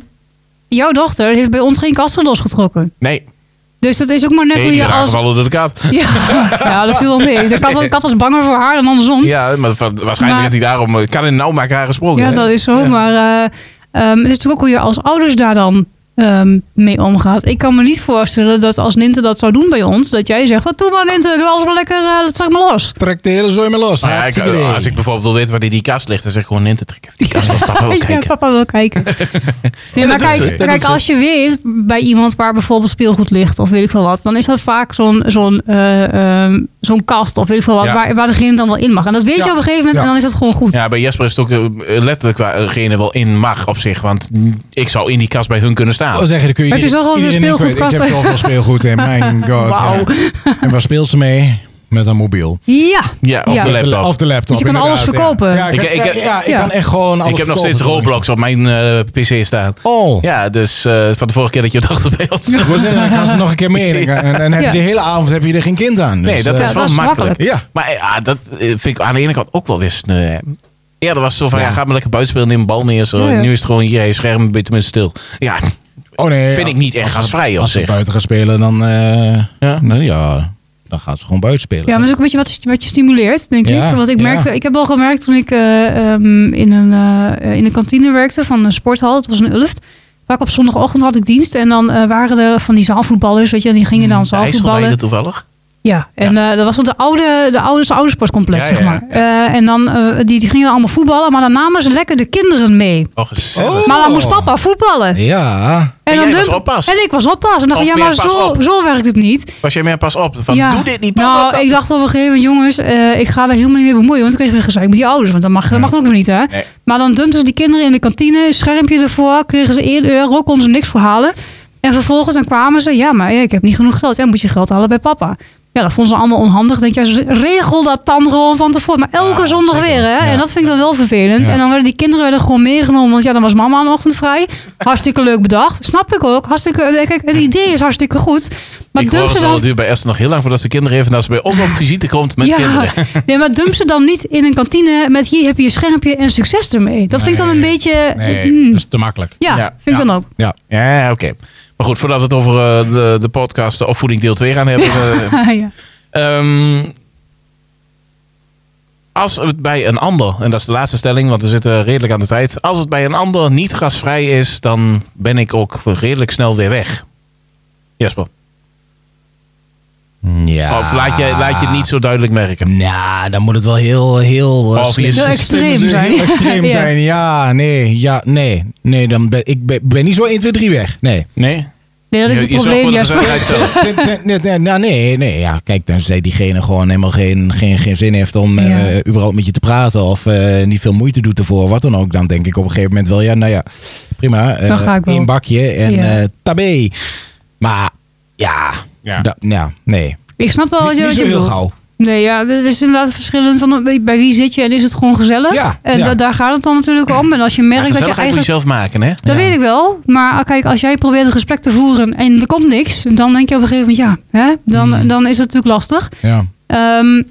jouw dochter heeft bij ons geen kasten losgetrokken.
Nee,
Dus dat is ook maar net
nee
hoe
die
je
werd
als...
aangevallen door de kat.
[LAUGHS] Ja, ja, dat viel wel mee. De kat, de kat was banger voor haar dan andersom.
Ja, maar wa- waarschijnlijk
Hm? Maar-
had hij daarom... eh, Kan in nou maar haar gesproken.
Ja,
hè?
dat is zo. Maar eh, ehm, het is natuurlijk ook hoe je als ouders daar dan ehm, mee omgaat. Ik kan me niet voorstellen dat als Ninte dat zou doen bij ons, dat jij zegt: "Wat doe maar Ninte, doe alles maar lekker, eh, dat zeg maar los.
Trek de hele zooi maar los.
Nou ja, ik-
Hartstikke idee.
als ik bijvoorbeeld wil weten waar die, die kast ligt, dan zeg ik gewoon in te trekken. Die kast was papa wel
Ja,
Oh, kijken.
papa wil
[LAUGHS]
kijken. Nee, maar
doet ze.
kijk,
Dat doet
kijk
ze.
als je weet bij iemand waar bijvoorbeeld speelgoed ligt of weet ik veel wat, dan is dat vaak zo'n zo'n eh, ehm, zo'n kast of weet ik veel wat,
Ja.
waar, waar degene dan wel in mag. En dat weet
Ja.
je op een gegeven moment
Ja.
en dan is dat gewoon goed.
Ja, bij Jesper is het ook eh, letterlijk waar degene wel in mag op zich. Want ik zou in die kast bij hun kunnen
wil
staan.
zeggen, dan kun je
Heb je
ieder-
zoveel [LAUGHS]
iedereen in kwijt. Ik
speelgoedkasten?
heb zoveel speelgoed in, mijn god.
Wauw.
ja. En waar speelt ze mee? met een mobiel.
Ja.
Ja, of
Ja.
de laptop.
Of de laptop.
Dus je kan
inderdaad,
alles
ja.
verkopen.
Ja, ik,
Ik- ik-
ja, ja, ik
ja.
kan echt gewoon alles
ik heb nog steeds
verkopen.
Roblox op mijn eh, PC staan.
Oh.
Ja, dus eh, van de vorige keer dat je het achter bij ons.
Ik wil zeggen, dan gaan ze nog een keer meer.
[LAUGHS]
En, en, en heb je
Ja.
de hele avond heb je er geen kind aan.
Nee,
Dus,
dat
eh,
is wel
dat is
makkelijk.
makkelijk.
Ja.
Maar eh, ja, dat eh, vind ik aan de ene kant ook wel weer sneu. hè. Eerder was het zo van, ja, ga maar lekker buiten spelen, neem een bal mee. Zo.
Ja, ja.
Nu is het gewoon, hier, je scherm, ben je tenminste stil. Ja,
Oh nee.
vind ik niet echt gastvrij op
Als ze
zich.
buiten gaan spelen, dan, eh,
Ja.
nou ja, dan gaan ze gewoon buiten spelen.
Ja, maar dat is ook een beetje wat, wat je stimuleert, denk
Ja,
ik. Want ik,
ja.
merkte, ik heb al gemerkt toen ik eh, ehm, in, een, eh, in een kantine werkte van een sporthal. Het was een Ulft. Vaak op zondagochtend had ik dienst. En dan eh, waren er van die zaalvoetballers, weet je. En die gingen dan
Hij is
zaalvoetballen.
toevallig.
Ja, en eh, dat was op de oude, de oude, het oude sportcomplex,
Ja, ja,
zeg maar. Eh, en dan, eh, die, die gingen dan allemaal voetballen. Maar dan namen ze lekker de kinderen mee.
Oh, gezellig.
Oh.
Maar dan moest papa voetballen.
Ja.
En
dan
jij
dump-
was oppas.
En ik was oppas. En dacht,
Of
ja,
meer
maar
pas
zo,
op.
zo werkt het niet.
Was jij meer pas op? Van,
Ja.
doe dit niet. papa,
Nou,
dat-
ik dacht op een gegeven moment, jongens, eh, ik ga daar helemaal niet mee bemoeien. Want ik kreeg weer gezeik met die ouders. Want dat mag, dat mag ook weer niet, hè?
Nee.
Maar dan dumpten ze die kinderen in de kantine, schermpje ervoor, kregen ze 1 euro, konden ze niks voor halen. En vervolgens dan kwamen ze, ja, maar ja, ik heb niet genoeg geld. En moet je geld halen bij papa. Ja, dat vonden ze allemaal onhandig. Denk je, regel dat dan gewoon van tevoren. Maar elke
Ja,
zondag
zeker.
weer, hè?
Ja.
En dat vind ik dan wel vervelend.
Ja.
En dan werden die kinderen werden gewoon meegenomen. Want ja, dan was mama aan de ochtend vrij. Hartstikke leuk bedacht. Snap ik ook. Hartstikke, eh, kijk, het idee is hartstikke goed. Maar
ik hoor
dump
het
ze
al,
dan
het duurt bij Esther nog heel lang voordat ze kinderen heeft. En dat ze bij ons op visite komt met [LAUGHS] kinderen.
[LAUGHS] Nee, maar dump ze dan niet in een kantine met hier heb je je schermpje en succes ermee. Dat vind ik dan een
Nee.
beetje...
Nee,
mm,
dat is te makkelijk.
ja,
Ja.
vind
Ja.
ik dan ook.
Ja.
Ja, oké. Maar goed, voordat we het over eh, de, de podcast de opvoeding deel 2 gaan [LAUGHS] hebben. eh,
[LAUGHS] ja.
Ehm, als het bij een ander, en dat is de laatste stelling, want we zitten redelijk aan de tijd. Als het bij een ander niet gasvrij is, dan ben ik ook redelijk snel weer weg. Jasper.
ja.
Of laat je, laat je het niet zo duidelijk merken.
Nou, dan moet het wel heel, heel... eh,
Of je
slim-
Heel
extreem
heel
zijn.
extreem
[LAUGHS] Ja.
zijn, ja, nee, ja, nee. Nee, dan ben, ik ben, ben niet zo 1, 2, 3 weg. Nee.
Nee?
Nee, dat is
Je-
het
je zorgt
probleem.
voor de
Jasper.
gezelligheid
[LAUGHS]
zelf.
[LAUGHS] Ten- ten- nee, nee, nou, nee, nee, ja, kijk, tenzij diegene gewoon helemaal geen, geen, geen zin heeft om eh,
Ja.
überhaupt met je te praten of eh, niet veel moeite doet ervoor, wat dan ook, dan denk ik op een gegeven moment wel, ja, nou ja, prima,
Dan
eh
ga ik wel.
één bakje en
Ja.
eh, tabé. Maar ja,
Ja.
da- ja, nee,
Ik snap wel wat
niet,
je,
niet
wat
zo
Oh, je
heel
bedoelt.
gauw.
Nee, ja, het is inderdaad verschillend van bij bij wie zit je en is het gewoon gezellig.
Ja,
en
ja.
da- daar gaat het dan natuurlijk om. En als je merkt dat je
Gezelligheid moet je
eigenlijk...
zelf maken, hè?
Dat
Ja.
weet ik wel. Maar ah, kijk, als jij probeert een gesprek te voeren en er komt niks, dan denk je op een gegeven moment ja. Hè? Dan,
Mm.
dan is het natuurlijk lastig.
Ja.
Ehm,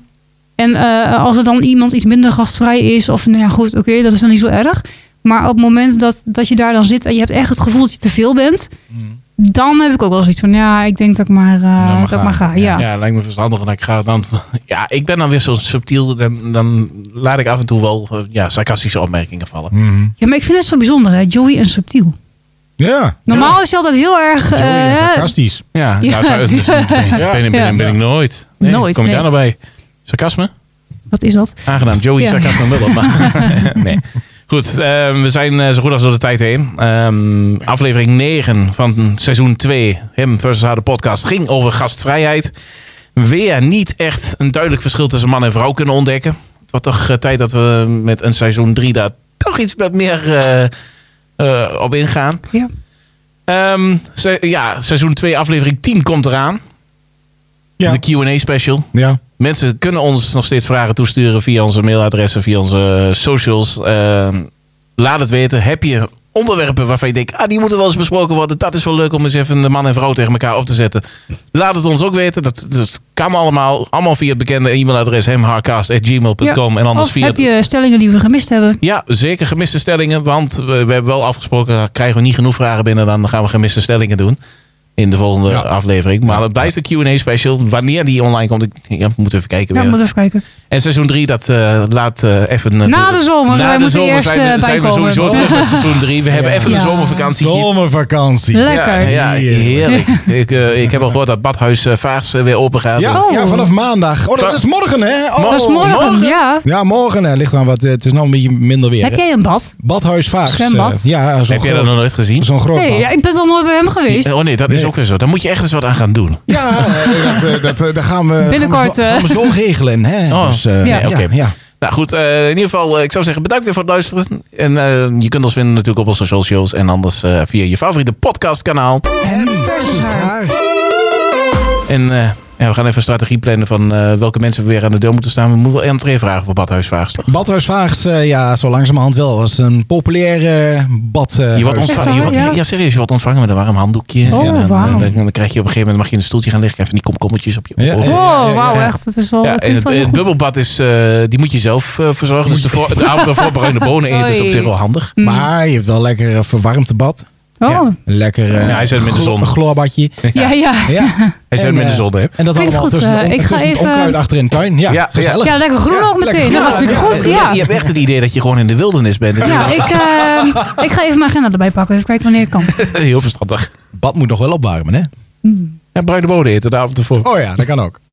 en eh, als er dan iemand iets minder gastvrij is, of nou ja, goed, oké, dat is dan niet zo erg. Maar op het moment dat, dat je daar dan zit en je hebt echt het gevoel dat je te veel bent,
Mhm.
dan heb ik ook wel zoiets van, ja, ik denk dat ik maar, eh,
Nou, maar
dat
gaan.
ik maar ga. Ja.
Ja, lijkt me verstandig. En ik ga dan. [LAUGHS] Ja, ik ben dan weer zo subtiel. Dan, dan laat ik af en toe wel eh, ja, sarcastische opmerkingen vallen.
Mhm.
Ja, maar ik vind het zo bijzonder, hè? Joey en subtiel.
Ja,
Normaal is je altijd heel erg...
Joey
eh,
is sarcastisch.
Ja,
Ja. [LAUGHS]
nou zou dus, ben, ik- ben, ik- ben, ik- ben ik nooit. Nee,
Nooit,
Kom je
nee.
daar nou bij? Sarcasme?
wat is dat?
Aangenaam. Joey
Ja.
sarcasme wel op.
[LAUGHS]
Maar nee. Goed, ehm, we zijn eh, zo goed als door de tijd heen. Ehm, aflevering 9 van seizoen 2, Hem versus Haar, de podcast, ging over gastvrijheid. Weer niet echt een duidelijk verschil tussen man en vrouw kunnen ontdekken. Het wordt toch eh, tijd dat we met een seizoen 3 daar toch iets wat meer eh, eh, op ingaan.
Ja.
Ehm, se- ja, seizoen 2, aflevering 10 komt eraan.
Ja,
De Q&A special.
ja.
Mensen kunnen ons nog steeds vragen toesturen via onze mailadressen, via onze eh, socials. Ehm, laat het weten. Heb je onderwerpen waarvan je denkt, ah, die moeten wel eens besproken worden. Dat is wel leuk om eens even de man en vrouw tegen elkaar op te zetten. Laat het ons ook weten. Dat, dat kan allemaal. Allemaal via het bekende e-mailadres hemharcast.gmail.com. En anders
of
via...
heb je stellingen die we gemist hebben?
Ja, zeker gemiste stellingen. Want we, we hebben wel afgesproken, eh, krijgen we niet genoeg vragen binnen, dan gaan we gemiste stellingen doen. In de volgende
Ja.
aflevering. Maar
Ja.
dat blijft een Q&A special. Wanneer die online komt, ik ja, we moeten even kijken.
Ja,
weer.
moet even kijken.
En seizoen 3, dat eh, laat eh, even... eh,
Na de zomer,
na
wij
de
moeten
zomer
eerst,
zijn,
eh,
we, zijn we
bijkomen.
sowieso terug met seizoen 3. We hebben
Ja.
even
Ja.
een zomervakantie.
Zomervakantie. Ja,
Lekker.
Ja, ja, heerlijk. ik, eh, ik heb al gehoord dat Badhuis eh, Vaars eh, weer open gaat.
ja,
Oh.
vanaf maandag. Oh, dat
Va-
is morgen, hè? Oh.
dat is morgen,
morgen?
ja.
Ja, morgen. eh, ligt aan wat, eh, het is nog een beetje minder weer.
Heb
hè?
jij een bad?
Badhuis Vaars.
Zwembad?
eh, ja, zo'n
Heb jij dat
groot,
nog nooit gezien?
zo'n groot
Nee,
Oh, bad.
ja, ik ben al nooit bij hem geweest.
Oh nee, dat is
Nee.
ook weer zo. Daar moet je echt eens wat aan gaan doen.
Ja, eh, dat, eh, dat, eh, dat gaan we
Binnenkort, eh.
gaan we zo, gaan we zo regelen. Hè?
Oh,
dus, eh,
ja.
ja,
Oké.
ja.
Nou goed, eh, in ieder geval, eh, ik zou zeggen bedankt weer voor het luisteren. En eh, je kunt ons vinden natuurlijk op onze socials en anders eh, via je favoriete podcastkanaal. En eh, Ja, we gaan even een strategie plannen van eh, welke mensen we weer aan de deur moeten staan. We moeten wel entree vragen voor Badhuis Vaagst, toch?
Badhuisvaags, eh, ja, zo langzamerhand wel. was een populair eh bad. eh,
Je wordt
huis.
ontvangen, je
waar,
wordt,
ja?
ja. serieus, je wordt ontvangen met een warm handdoekje.
Oh,
en dan,
wauw.
eh, dan, dan krijg je op een gegeven moment mag je in een stoeltje gaan liggen. Krijg je van die komkommetjes op je
Ja,
oren.
Oh,
ja, ja, ja.
wauw, echt. Oh, Het is wel.
Ja,
dat
en
klinkt
het,
wel heel goed.
het bubbelbad is, eh, die moet je zelf eh, verzorgen. Dus de, voor, de avond daarvoor bruine bonen eten is op
Oei.
zich wel handig.
Mm.
Maar je hebt wel lekker een verwarmd bad.
Oh,
Een lekker eh,
Ja, hij zit met de
glo-
zon.
[LAUGHS]
gloorbadje.
ja, ja. Ja,
Ja.
Hij zijn
En,
met de
eh,
zon, hè?
En dat
Klinkt
allemaal
goed,
tussen, de
eh,
on-
ik ga
tussen het
even-
onkruid achter in de tuin. Ja,
Ja,
gezellig.
lekker groen
Ja,
nog meteen.
lekker
Dat
groen.
was natuurlijk goed. Ja,
Je
ja.
hebt echt het idee dat je gewoon in de wildernis bent. Dat is
ik, eh, ik ga even mijn agenda erbij pakken. Even kijken wanneer ik kan.
[LAUGHS] Heel verstandig.
Bad moet nog wel opwarmen, hè?
Mm.
Ja, bruine bonen eten de avond ervoor.
Oh ja, dat kan ook.